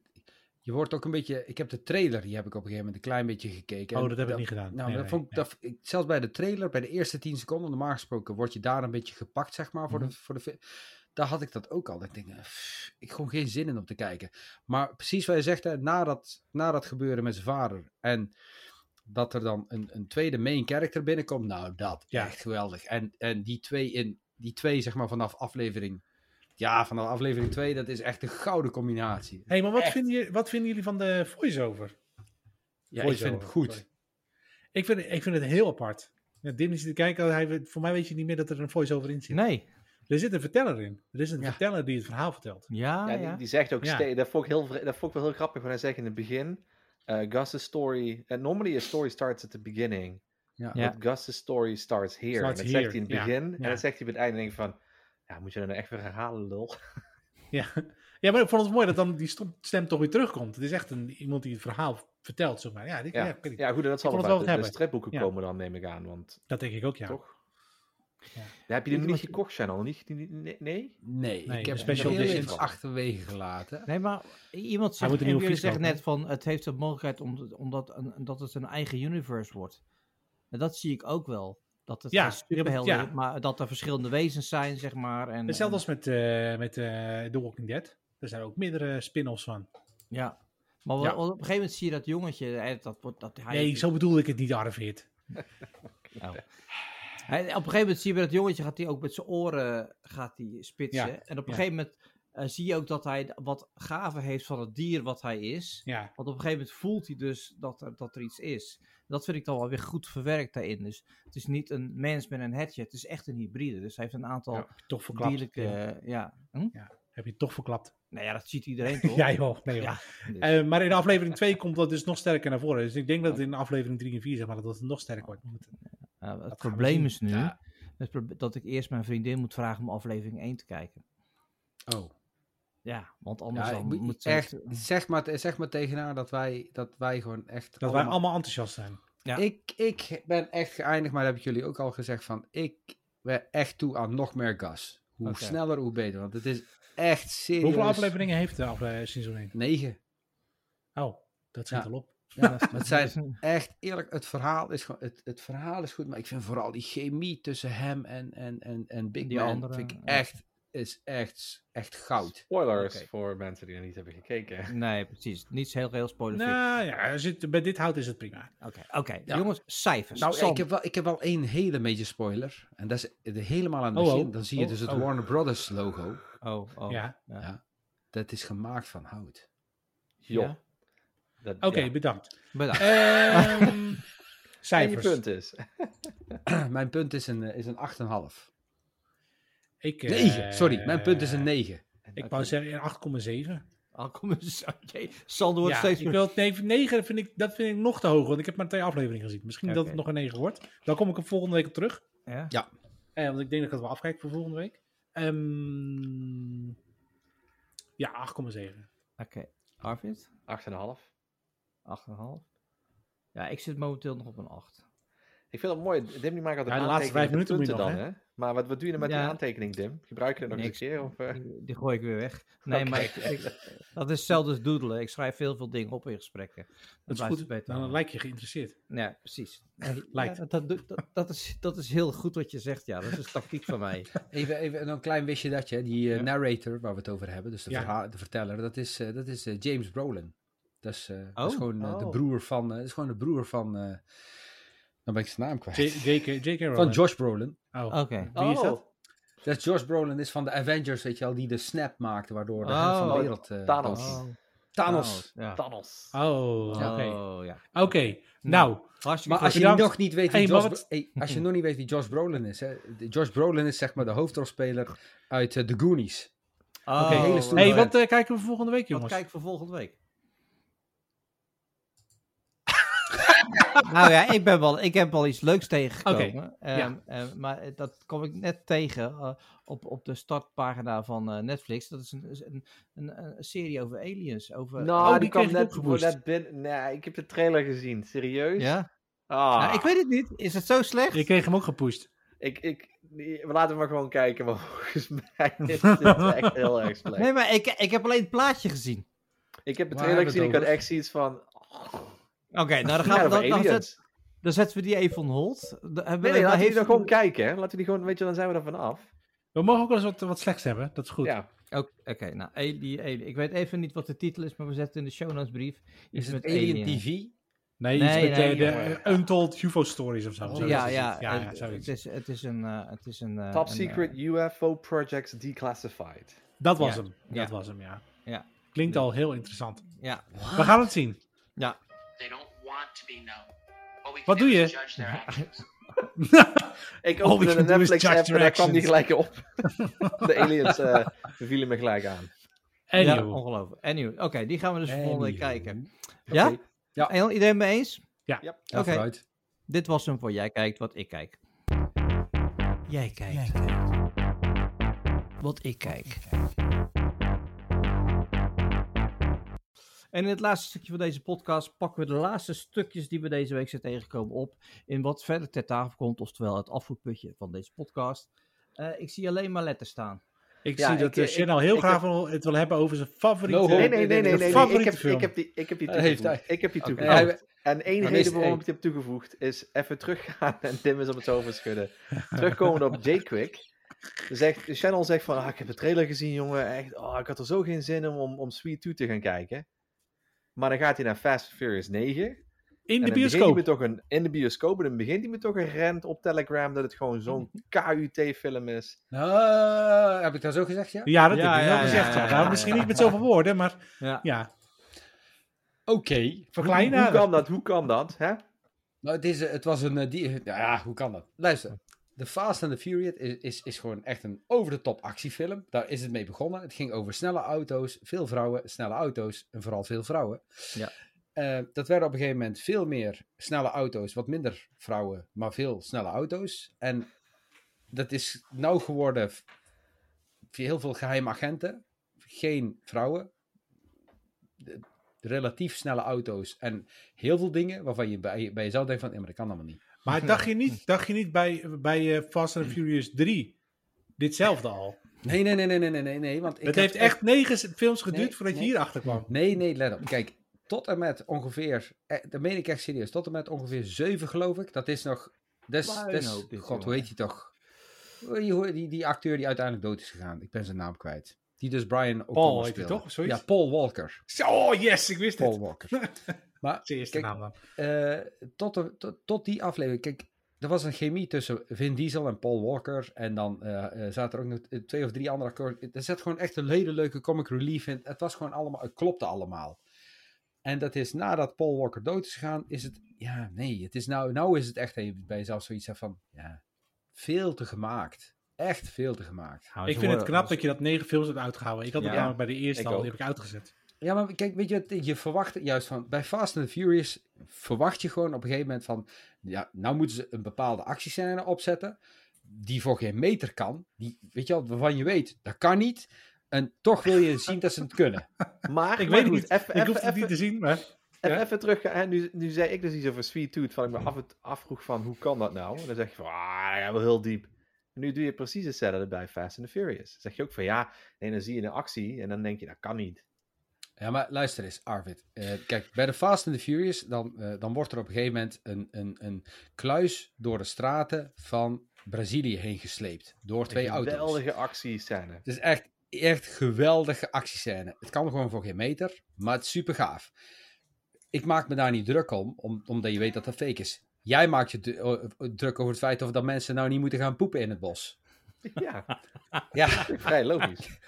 je wordt ook een beetje... Ik heb de trailer, die heb ik op een gegeven moment een klein beetje gekeken.
Oh,
En
dat heb ik niet gedaan.
Nou, maar
Nee,
dat
nee,
vond ik,
nee.
dat, ik- zelfs bij de trailer, bij de eerste 10 seconden, normaal gesproken, word je daar een beetje gepakt, zeg maar, voor
Mhm.
de, voor de fi- Daar had ik dat ook al. Ik denk, eh, pff, ik heb gewoon geen zin in om te kijken. Maar precies wat je zegt, hè, na, dat, na dat gebeuren met zijn vader en dat er dan een, een tweede main character binnenkomt, nou, dat
Ja.
echt geweldig. En, en die, twee in, die twee, zeg maar, vanaf aflevering... Ja, vanaf aflevering 2, dat is echt een gouden combinatie.
Hé, maar wat vinden, jullie, wat vinden jullie van de voice-over?
Ja, ik
Voice-over,
vind het goed.
sorry. Ik vind, ik vind het heel apart. Ja, Dim is te kijken, hij, weet- voor mij weet je niet meer dat er een voice-over in zit.
nee.
Er zit een verteller in. Er is een
Ja.
verteller die het verhaal vertelt.
Ja,
ja,
Ah, ja.
die, die zegt ook
Ja.
steeds, dat vond, ik heel, vre- dat vond ik wel heel grappig, want hij zegt in het begin, eh Gus' story, and normally a story starts at the beginning,
Ja.
Ja.
but Gus' story starts here.
Starts
en dat zegt
here,
hij in het
ja,
begin,
ja.
en dat zegt hij bij het einde, en denk ik van, ja, moet je dat nou echt weer herhalen, lul?
Ja. ja, maar ik vond het mooi dat dan die stom- stem toch weer terugkomt. Het is echt een, iemand die het verhaal vertelt, zeg maar. Ja, dit- ja,
Ja,
ik weet niet.
ja goed, en dat zal
vond het wel
wel uit
wat
de, de
hebben.
stripboeken
Ja.
komen dan, neem ik aan, want
dat denk ik ook, ja.
toch?
Ja.
Ja, heb je die
Weet
nog niet
je wat-
gekocht, Channel? Niet, niet- nee? nee?
Nee,
Nee,
ik
de special
heb special heel
edition.
even achterwege gelaten.
Nee, maar iemand
moet
zegt,
een
en
nieuwe
jullie
fiets
zeggen
kopen.
net van, het heeft de mogelijkheid om, omdat, een, dat het een eigen universe wordt. En dat zie ik ook wel. Dat het
Ja,
geen superhelden,
ja.
is, maar dat er verschillende wezens zijn, zeg maar. En,
Hetzelfde
en-
als met, eh, met eh, The Walking Dead. Er zijn ook meerdere spin-offs van.
Ja. Maar wa- wa-
Ja.
op een gegeven moment zie je dat jongetje, hè, dat wordt, dat hij...
Nee, zo bedoelde ik het niet, Arvid.
Hij- op een gegeven moment zie je bij dat jongetje gaat hij ook met zijn oren gaat hij spitsen.
Ja,
En op een
ja.
gegeven moment eh, zie je ook dat hij wat gaven heeft van het dier wat hij is.
Ja,
Want op een gegeven moment voelt hij dus dat er, dat er iets is. Dat vind ik dan wel weer goed verwerkt daarin. Dus het is niet een mens met een hetje. Het is echt een hybride. Dus hij heeft een aantal
Ja, toch verklapt.
dierlijke...
Ja.
Ja. Hm?
Heb je het toch verklapt?
Nou ja, dat ziet iedereen toch?
Ja, joh. Nee, joh.
Ja, dus-
Eh, maar in aflevering 2 komt dat dus nog sterker naar voren. Dus ik denk dat in aflevering 3 en 4 zeg maar, dat het nog sterker wordt. Want-
Nou, het
we
probleem
zien.
is nu
Ja.
het proble- dat ik eerst mijn vriendin moet vragen om aflevering 1 te kijken.
Oh.
Ja, want anders
Ja, ik
dan
moet-
moet ze...
echt, zeg, maar, zeg maar tegen haar dat wij, dat wij gewoon echt...
Dat wij allemaal enthousiast zijn.
Ja.
Ik, ik ben echt geëindigd, maar dat heb ik jullie ook al gezegd, van ik ben echt toe aan nog meer gas. Hoe
Oké.
sneller, hoe beter. Want het is echt serieus...
Hoeveel afleveringen heeft de afle eh, seizoen 1?
Negen.
Oh, dat zit
Ja.
al op.
Ja, het zijn
Dat is-
echt eerlijk, het verhaal, is gewoon, het, het verhaal is goed, maar ik vind vooral die chemie tussen hem en, en, en, en Big
Die
Man,
andere,
vind ik
ja.
echt is echt, echt goud.
Spoilers
Oké.
voor mensen die er niet hebben gekeken.
Nee, precies. Niet heel, heel spoilerfree.
Nou ja, als je het- bij dit hout is het prima.
Oké, oké.
Ja.
jongens, cijfers.
Nou,
Sam,
ik heb, wel, ik heb wel één hele beetje spoiler. En dat is de- helemaal aan het
Oh, oh.
begin. Dan zie je
Oh,
dus het
oh.
Warner Brothers logo.
Oh, oh.
Ja.
Dat is gemaakt van hout.
Joh.
Ja.
Dat-
Oké,
ja.
bedankt.
Bedankt.
Ehm
En je
cijfers.
punt is.
mijn punt is een, eh, is een 8,5.
Ik, eh,
9, sorry. Mijn punt is een 9.
Ik wou zeggen 8,7.
Al kom eens. Jee, Sander wordt
Ja,
steeds
ik wil, nee, 9 vind ik, dat vind ik nog te hoog, want ik heb maar twee afleveringen gezien. Misschien dat het
Oké.
nog een 9 wordt. Dan kom ik er volgende week op terug.
Ja?
Eh, want ik denk dat ik het wel afkijk voor volgende week. Ehm, ja, 8,7.
Oké. Arvid?
8,5.
8,5. Ja, ik zit momenteel nog op een 8.
Ik vind het mooi. Dim die maakt altijd
Ja, de
aantekeningen
laatste
met
vijf minuten
punten
moet
dan,
je
hè? Maar wat, wat doe je dan met
Ja.
die aantekening, Dim? Gebruik je het nog eens
Niks.
een keer? Of, eh?
Die gooi ik weer weg. Nee, maar ik, ik- dat is hetzelfde als doodelen. Ik schrijf heel veel dingen op in gesprekken.
Dat is
blijft
goed.
beter.
Dan lijkt je geïnteresseerd.
Ja, precies.
Lijkt.
Ja, dat, doet- dat, dat, is, dat is heel goed wat je zegt. Ja, dat is een tactiek van mij.
Even, even een klein wistje dat je, die eh,
Ja.
narrator waar we het over hebben, dus de,
Ja.
verha- de verteller, dat is, eh, dat is eh, James Brolin. Dat is, eh, dat
Oh.
is gewoon eh, de
Oh.
broer van, eh, dat is gewoon de broer van, eh, dan ben ik zijn naam kwijt.
J- J.K. J.K.
van
Rowling.
Josh Brolin.
Oh.
Oké.
Wie is dat?
Dat is Josh Brolin is van de Avengers, weet je wel, die de snap maakte, waardoor de
Oh.
helft van de wereld... eh,
Thanos.
dood-
Oh,
Thanos.
Ja.
Thanos.
Oh, oké.
Oh, ja.
Oké, nou.
Hartstikke
Maar als je,
Bedankt.
nog niet weet wie
Hey,
Josh,
maar
Bro- hey, als je nog niet weet wie Josh Brolin is, hè, de- Josh Brolin is zeg maar de hoofdrolspeler uit eh, The Goonies.
Oh,
Oké,
hele stoere
hey,
vent.
wat eh, kijken we volgende week,
Wat
jongens?
kijk ik voor volgende week? nou ja, ik, ben wel, ik heb wel iets leuks tegengekomen. Ehm,
ja.
ehm, maar dat kom ik net tegen eh, op, op de startpagina van eh, Netflix. Dat is een, is een, een, een serie over aliens. Over...
Nou,
Oh,
die,
die
kwam
kreeg ik
net,
opgeboost.
net binnen. Nee, ik heb de trailer gezien. Serieus?
Ja?
Ah,
Nou, ik weet het niet. Is het zo slecht?
Ik kreeg hem ook gepusht.
ik, ik, nee, laten we maar gewoon kijken, want volgens mij is het echt heel erg slecht.
Nee, maar ik, ik heb alleen het plaatje gezien.
ik heb de
Waar
trailer
hebben we
gezien, ik
het
had echt zoiets van... oh,
Oké, nou dan,
Ja,
gaan we,
over
dan, dan,
aliens.
zet- dan zetten we die even on hold. Dan hebben
Nee,
we-
nee, laten we die
heeft-
dan gewoon kijken. hè. Laten we die gewoon, weet je, dan zijn we er vanaf.
We mogen ook wel eens wat, wat slechts hebben, dat is goed.
Ja.
Ook- Oké, nou, Ali- Ali- ik weet even niet wat de titel is, maar we zetten in de show notes brief.
Is
iets
het
met
Alien
aliens.
TV?
Nee, iets
Nee,
met
nee,
eh, de
jongen.
eh, Untold UFO Stories of zo. Zo
ja,
is het.
ja,
ja,
eh,
ja, zoiets.
het, is, het is een... eh, het is een eh,
Top
een,
Secret
eh,
UFO Projects Declassified.
Dat was
Ja.
hem. Dat
Ja.
was hem, ja.
Ja.
Klinkt al heel interessant.
ja,
We gaan het zien.
ja.
They don't want to be known. But we can
Wat
do
doe je?
is judge their actions.
Ik
All we
opende de
can do is
Netflix
judge
app en daar kwam die
directions.
gelijk op. de aliens eh, vielen me gelijk aan.
Anywho.
ja ongelooflijk. Anyway, oké, die gaan we dus volgende week
Anywho.
kijken. Ja?
Ja. Oh,
En Iedereen mee eens?
Ja,
Oké.
vooruit.
Dit was hem voor Jij Kijkt Wat Ik Kijk. Jij kijkt. Wat ik kijk. En in het laatste stukje van deze podcast pakken we de laatste stukjes die we deze week zijn tegengekomen op. In wat verder ter tafel komt, oftewel het afvoerputje van deze podcast. Eh, ik zie alleen maar letters staan.
Ik
Ja,
zie dat
ik,
de
eh,
Shin
ik-
al heel
ik
graag wil- het wil hebben over zijn favoriete...
No homo.
Nee, nee, nee, nee.
Je
nee, nee. Ik,
favoriete
heb,
film.
ik, heb die, ik heb die
Dat heeft
toegevoegd. ik heb die
Oké.
toegevoegd.
Hij-
En één
Dan is
reden waarom
één.
ik die heb toegevoegd is even teruggaan. En Tim is op het over schudden. Terugkomend op J-Quick. Zegt, Channel zegt van, ah, ik heb de trailer gezien, jongen. Echt, oh, ik had er zo geen zin in om, om Sweet Tooth te gaan kijken. Maar dan gaat hij naar Fast and Furious 9.
In de
En dan begint hij
bioscoop.
met toch een, in de bioscoop. En dan begint hij me toch een rent op Telegram dat het gewoon zo'n
Mhm.
KUT-film is.
Ah, heb ik dat zo gezegd, ja?
Ja, dat
Ja,
heb je
ja,
wel
ja, ja,
gezegd. ja.
ja,
Nou,
ja.
misschien niet met zoveel woorden, maar
Ja.
ja.
Oké.
Verklein
Hoe
haar.
kan dat? Hoe kan dat? Hè?
Nou, het, is, eh, het was een... eh, Die, nou ja, hoe kan dat? Luister. The Fast and the Furious is, is, is gewoon echt een over-de-top actiefilm. Daar is het mee begonnen. Het ging over snelle auto's, veel vrouwen, snelle auto's en vooral veel vrouwen.
Ja.
Eh, dat werden op een gegeven moment veel meer snelle auto's, wat minder vrouwen, maar veel snelle auto's. En dat is nou geworden v- via heel veel geheime agenten, geen vrouwen, de- relatief snelle auto's en heel veel dingen waarvan je bij, bij jezelf denkt van, "Ja, maar dat kan allemaal niet.
Maar dacht je niet, dacht je niet bij, bij eh, Fast and Furious 3 ditzelfde al?
Nee, nee, nee, nee, nee, nee, nee, nee, want ik
het
had
heeft echt negen s- films geduurd
Nee,
voordat je
nee.
hierachter kwam.
Nee, nee, let op. Kijk, tot en met ongeveer, eh, dat meen ik echt serieus, tot en met ongeveer zeven geloof ik, dat is nog, des,
Puinhoop
des,
dit,
god, hoe
jongen.
heet die toch? Je hoort die, die acteur die uiteindelijk dood is gegaan. Ik ben zijn naam kwijt. Die dus Brian O'Connor
Paul heet hij
speelde.
toch? Zoiets?
Ja, Paul Walker.
Zo, Oh, yes, ik wist
Paul
het.
Walker. maar
Zijn eerste
Kijk,
naam dan.
eh, tot, de- tot, tot die aflevering. Kijk, er was een chemie tussen Vin Diesel en Paul Walker. En dan eh, eh, zaten er ook nog eh, twee of drie andere akkoorden. Er zat gewoon echt een hele leuke comic relief in. Het was gewoon allemaal, het klopte allemaal. En dat is nadat Paul Walker dood is gegaan, is het, ja, nee, het is nou, nou is het echt dat je bij jezelf zoiets hebt van, ja, veel te gemaakt. Echt veel te gemaakt.
Ik vind het knap dat je dat negen films hebt uitgehouden. Ik had het
Ja.
namelijk bij de eerste
Ik
al,
ook.
die heb ik uitgezet.
Ja, maar kijk, weet je wat, je verwacht juist van, bij Fast and the Furious verwacht je gewoon op een gegeven moment van, ja, nou moeten ze een bepaalde actiescène opzetten, die voor geen meter kan, die, weet je wel, waarvan je weet, dat kan niet, en toch wil je zien dat ze het kunnen.
Maar,
Ik
maar
weet het
goed,
niet.
even-
Ik
even-
hoef het niet
even-
te zien, maar...
Even,
Ja.
even terug, hè, nu, nu zei ik dus iets over Sweet Tooth, van ik me af, afvroeg van hoe kan dat nou? En dan zeg je van, ah, ja, wel heel diep. Nu doe je precies hetzelfde bij Fast and the Furious. Dan zeg je ook van, ja, nee, dan zie je een actie en dan denk je, dat kan niet.
Ja, maar luister eens, Arvid. Eh, kijk, bij de Fast and the Furious, dan, eh, dan wordt er op een gegeven moment een, een, een kluis door de straten van Brazilië heen gesleept, door twee
een
auto's.
Geweldige actiescène.
Het is echt, echt geweldige actiescène. Het kan gewoon voor geen meter, maar het is super gaaf. Ik maak me daar niet druk om, om omdat je weet dat dat fake is. Jij maakt je d- o- o- druk over het feit of dat mensen nou niet moeten gaan poepen in het bos.
Ja,
Ja,
vrij logisch.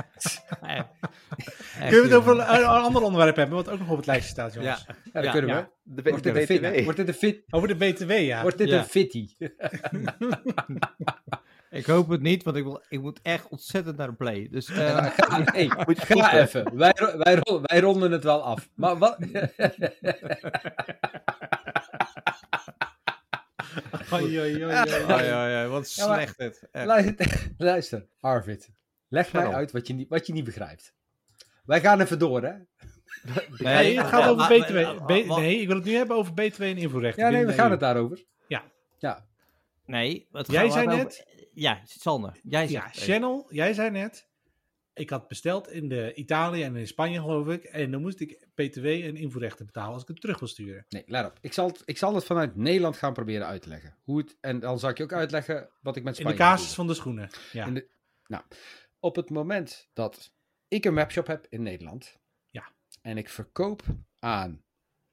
Kunnen we het over een, een ander onderwerp hebben, wat ook nog op het lijstje staat, jongens?
Ja,
ja, dat
Ja,
kunnen
ja.
we.
De, B-
Wordt
de
dit, een fit,
BTW.
wordt dit, een, fit,
Over de BTW, ja.
wordt dit
Ja.
een fitty?
ik hoop het niet, want ik, wil, ik moet echt ontzettend naar de play. Dus eh,
Ga, hey,
Moet je
ga
kosten.
even. Wij, ro- wij, ro- wij ronden het wel af. Maar wat...
Oei, oei, oei, oei.
oei, oei, oei, wat
Ja, maar-
slecht dit. Echt.
Luister, luister, Arvid. Leg mij
Waarom?
uit wat je, niet, wat je niet begrijpt. Wij gaan even door, hè?
Nee, het gaat
wa-
over
wa-
BTW.
wa-
B-
wa-
nee, ik wil het nu hebben over BTW en invoerrechten.
Ja, nee,
binnen
we
de
gaan
EU.
het daarover.
Ja.
Ja.
Nee, wat
Jij
gaan we
zei
over-
net-
Ja, Sander, jij
Ja,
zegt.
Channel, jij zei net, ik had besteld in de Italië en in Spanje, geloof ik. En dan moest ik BTW en invoerrechten betalen als ik het terug wil sturen.
Nee, let op. Ik zal, het, ik zal het vanuit Nederland gaan proberen uit te leggen. Hoe het, en dan zal ik je ook uitleggen wat ik met
In de
Spanje
casus
bedoel.
van de schoenen. Ja.
In de- Op het moment dat ik een webshop heb in Nederland.
Ja.
En ik verkoop aan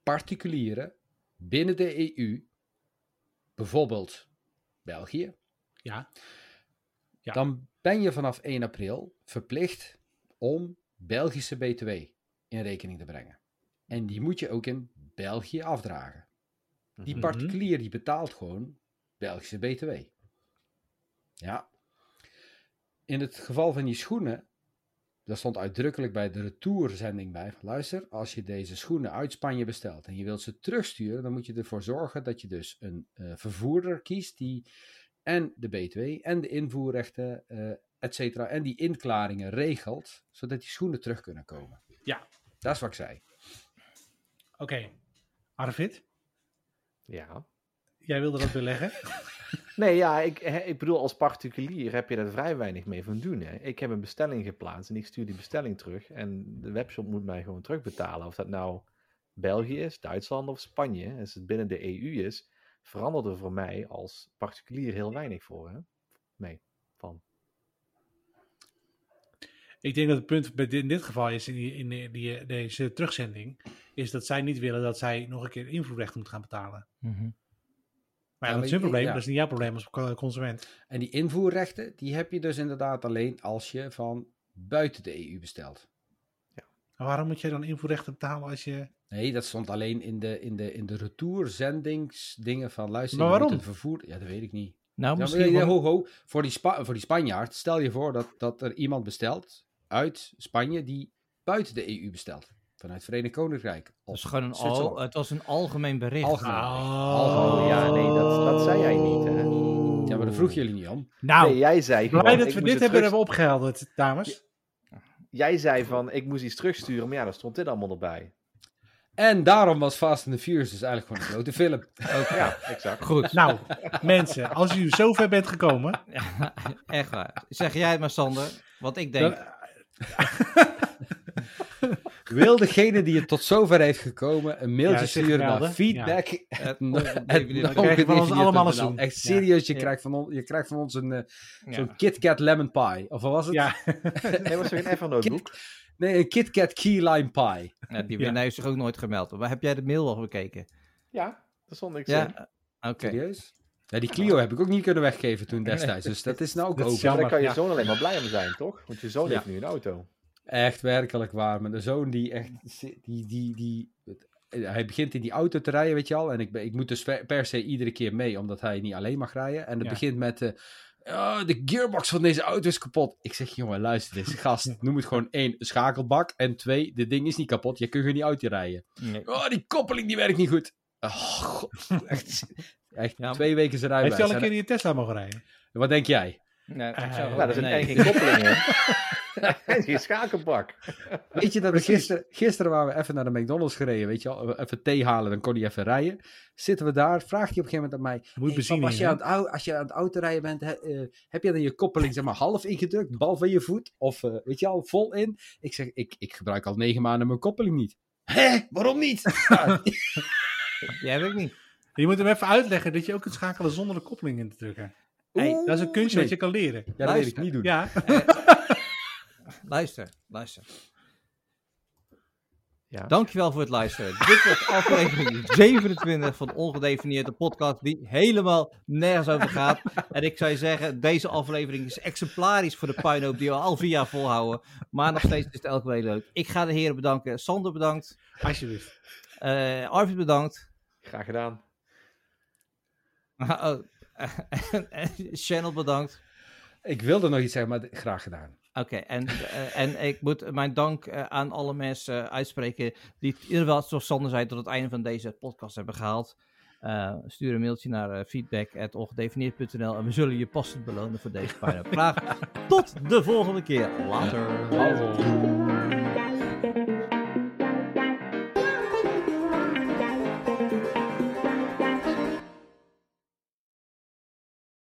particulieren binnen de EU. Bijvoorbeeld België.
ja. Ja.
Dan ben je vanaf 1 april verplicht om Belgische BTW in rekening te brengen. En die moet je ook in België afdragen. Die
Mhm.
particulier die betaalt gewoon Belgische BTW. Ja. In het geval van die schoenen, daar stond uitdrukkelijk bij de retourzending bij van luister, als je deze schoenen uit Spanje bestelt en je wilt ze terugsturen, dan moet je ervoor zorgen dat je dus een eh, vervoerder kiest die en de BTW en de invoerrechten, eh et cetera, en die inklaringen regelt, zodat die schoenen terug kunnen komen.
Ja.
Dat is wat ik zei.
Oké. Arvid,
Ja.
jij wilde dat beleggen?
Nee, ja, ik, hè, ik bedoel, als particulier heb je daar vrij weinig mee van doen. Hè. Ik heb een bestelling geplaatst en ik stuur die bestelling terug. En de webshop moet mij gewoon terugbetalen. Of dat nou België is, Duitsland of Spanje, als het binnen de EU is, verandert er voor mij als particulier heel weinig voor. Hè. Nee, van.
ik denk dat het punt bij dit- in dit geval is, in, die, in die, die- deze terugzending, is dat zij niet willen dat zij nog een keer invoerrechten moet gaan betalen.
Mhm.
Maar ja,
Ja,
dat
maar
is hun
ik-
probleem,
ja.
dat is niet jouw probleem als co- consument.
En die invoerrechten, die heb je dus inderdaad alleen als je van buiten de EU bestelt.
Maar waarom moet jij dan invoerrechten betalen als je...
Nee, dat stond alleen in de, in de, in de retourenzendingsdingen van luister.
Maar
je moet
waarom?
een vervoer, ja, dat weet ik niet.
Nou,
Ja,
misschien...
maar, ja,
wel-
ho, ho, voor, die Spa- voor die Spanjaard, stel je voor dat, dat er iemand bestelt uit Spanje die buiten de EU bestelt. Vanuit het Verenigd Koninkrijk.
Het
Of
was gewoon een
Zwitserland.
al, het was een algemeen bericht. Ah,
Algemeen.
Oh ja, nee, dat, dat zei jij niet. Hè.
Ja, maar daar vroeg jullie niet om.
Nou,
Nee, jij zei gewoon,
blij dat
ik
we
moest
dit
het
hebben,
terug-
hebben opgehelderd, dames.
Jij zei van, ik moest iets terugsturen, maar ja, daar stond dit allemaal erbij.
En daarom was Fast and the Furious dus eigenlijk gewoon een grote film.
Ja, exact.
Goed,
Nou, mensen, als u zover bent gekomen,
echt waar. Zeg jij het maar, Sander, wat ik denk.
dan,
Wil degene die het tot zover heeft gekomen een mailtje
Ja, zich
sturen naar
melden.
feedback.
Het- op-
No-
op-
at
op-
no-
op-
krijg je van ons
no-
allemaal een
nl.
zoen.
Echt
Ja.
serieus, je,
Ja.
krijgt van on- je krijgt van ons een eh,
ja.
zo'n Kit Kat Lemon Pie. Of wat was het?
Ja,
Hij was toch een Evernote boek?
Nee, een Kit Kat Key Lime Pie.
Ja, nou, die
Ja.
winnaar heeft zich ook nooit gemeld. Maar heb jij de mail al bekeken?
Ja, daar stond niks in.
Ja, oké.
Serieus? Ja, die Clio heb ik ook niet kunnen weggeven toen destijds. Dus dat is nou ook
Dat is
over.
Maar
jammer,
daar kan je
ja.
zoon alleen maar blij om zijn, toch? Want je zoon
Ja.
heeft nu een auto.
Echt werkelijk waar. Mijn zoon die echt... zi- Die, die, die, hij begint in die auto te rijden, weet je al. En ik, ben- ik moet dus ver- per se iedere keer mee, omdat hij niet alleen mag rijden. En het
Ja.
begint met... eh, "Ah, de gearbox van deze auto is kapot. Ik zeg, jongen, luister eens, gast. Noem het gewoon één, een schakelbak. En twee, dit ding is niet kapot. Je kunt gewoon die auto rijden.
Nee.
Oh, die koppeling die werkt niet goed. Oh, god. Echt, echt
Ja.
twee weken zijn
heeft
rijbewijs.
hij al een keer
En- eh,
in je Tesla mogen rijden?
Wat denk jij?
Nee,
Eh,
ik zou-
ja,
Nou, daar zit
nee.
en geen koppeling in. en geen schakelbak.
Weet je dat we gisteren, gisteren waren we even naar de McDonald's gereden, weet je wel, even thee halen, dan kon hij even rijden. Zitten we daar, vraagt hij op een gegeven moment aan mij,
Er moet
"Hey,
benzine
pap, als,
in,
je
hè?"
aan het au- als je aan het auto rijden bent, he- eh, heb je dan je koppeling zeg maar half ingedrukt, bal van je voet, of eh, weet je al, vol in? Ik zeg, ik, ik gebruik al negen maanden mijn koppeling niet. Hé, waarom niet?
Die heb ik niet.
Je moet hem even uitleggen dat je ook kunt schakelen zonder de koppeling in te drukken.
Hey,
Dat is een kunstje
nee.
dat je kan leren.
Ja, dat wil ik
Luister.
niet doen.
Ja,
Luister, luister.
Ja.
Dankjewel voor het luisteren. Dit was aflevering 27 van Ongedefinieerde Podcast, die helemaal nergens over gaat. En ik zou je zeggen, deze aflevering is exemplarisch voor de puinhoop die we al vier jaar volhouden. Maar nog steeds is het elke week leuk. Ik ga de heren bedanken. Sander bedankt.
alsjeblieft.
Eh Arvid bedankt.
Graag gedaan.
Oh, en- en Channel bedankt.
Ik wilde nog iets zeggen, maar d- graag gedaan.
Oké, en, eh, en ik moet mijn dank eh, aan alle mensen eh, uitspreken die het inderdaad, zoals Sander zei, tot het einde van deze podcast hebben gehaald. Eh, stuur een mailtje naar eh, feedback.ongedefinieerd.nl en we zullen je passend belonen voor deze pijlen. Graag tot de volgende keer. Later.
Hallo.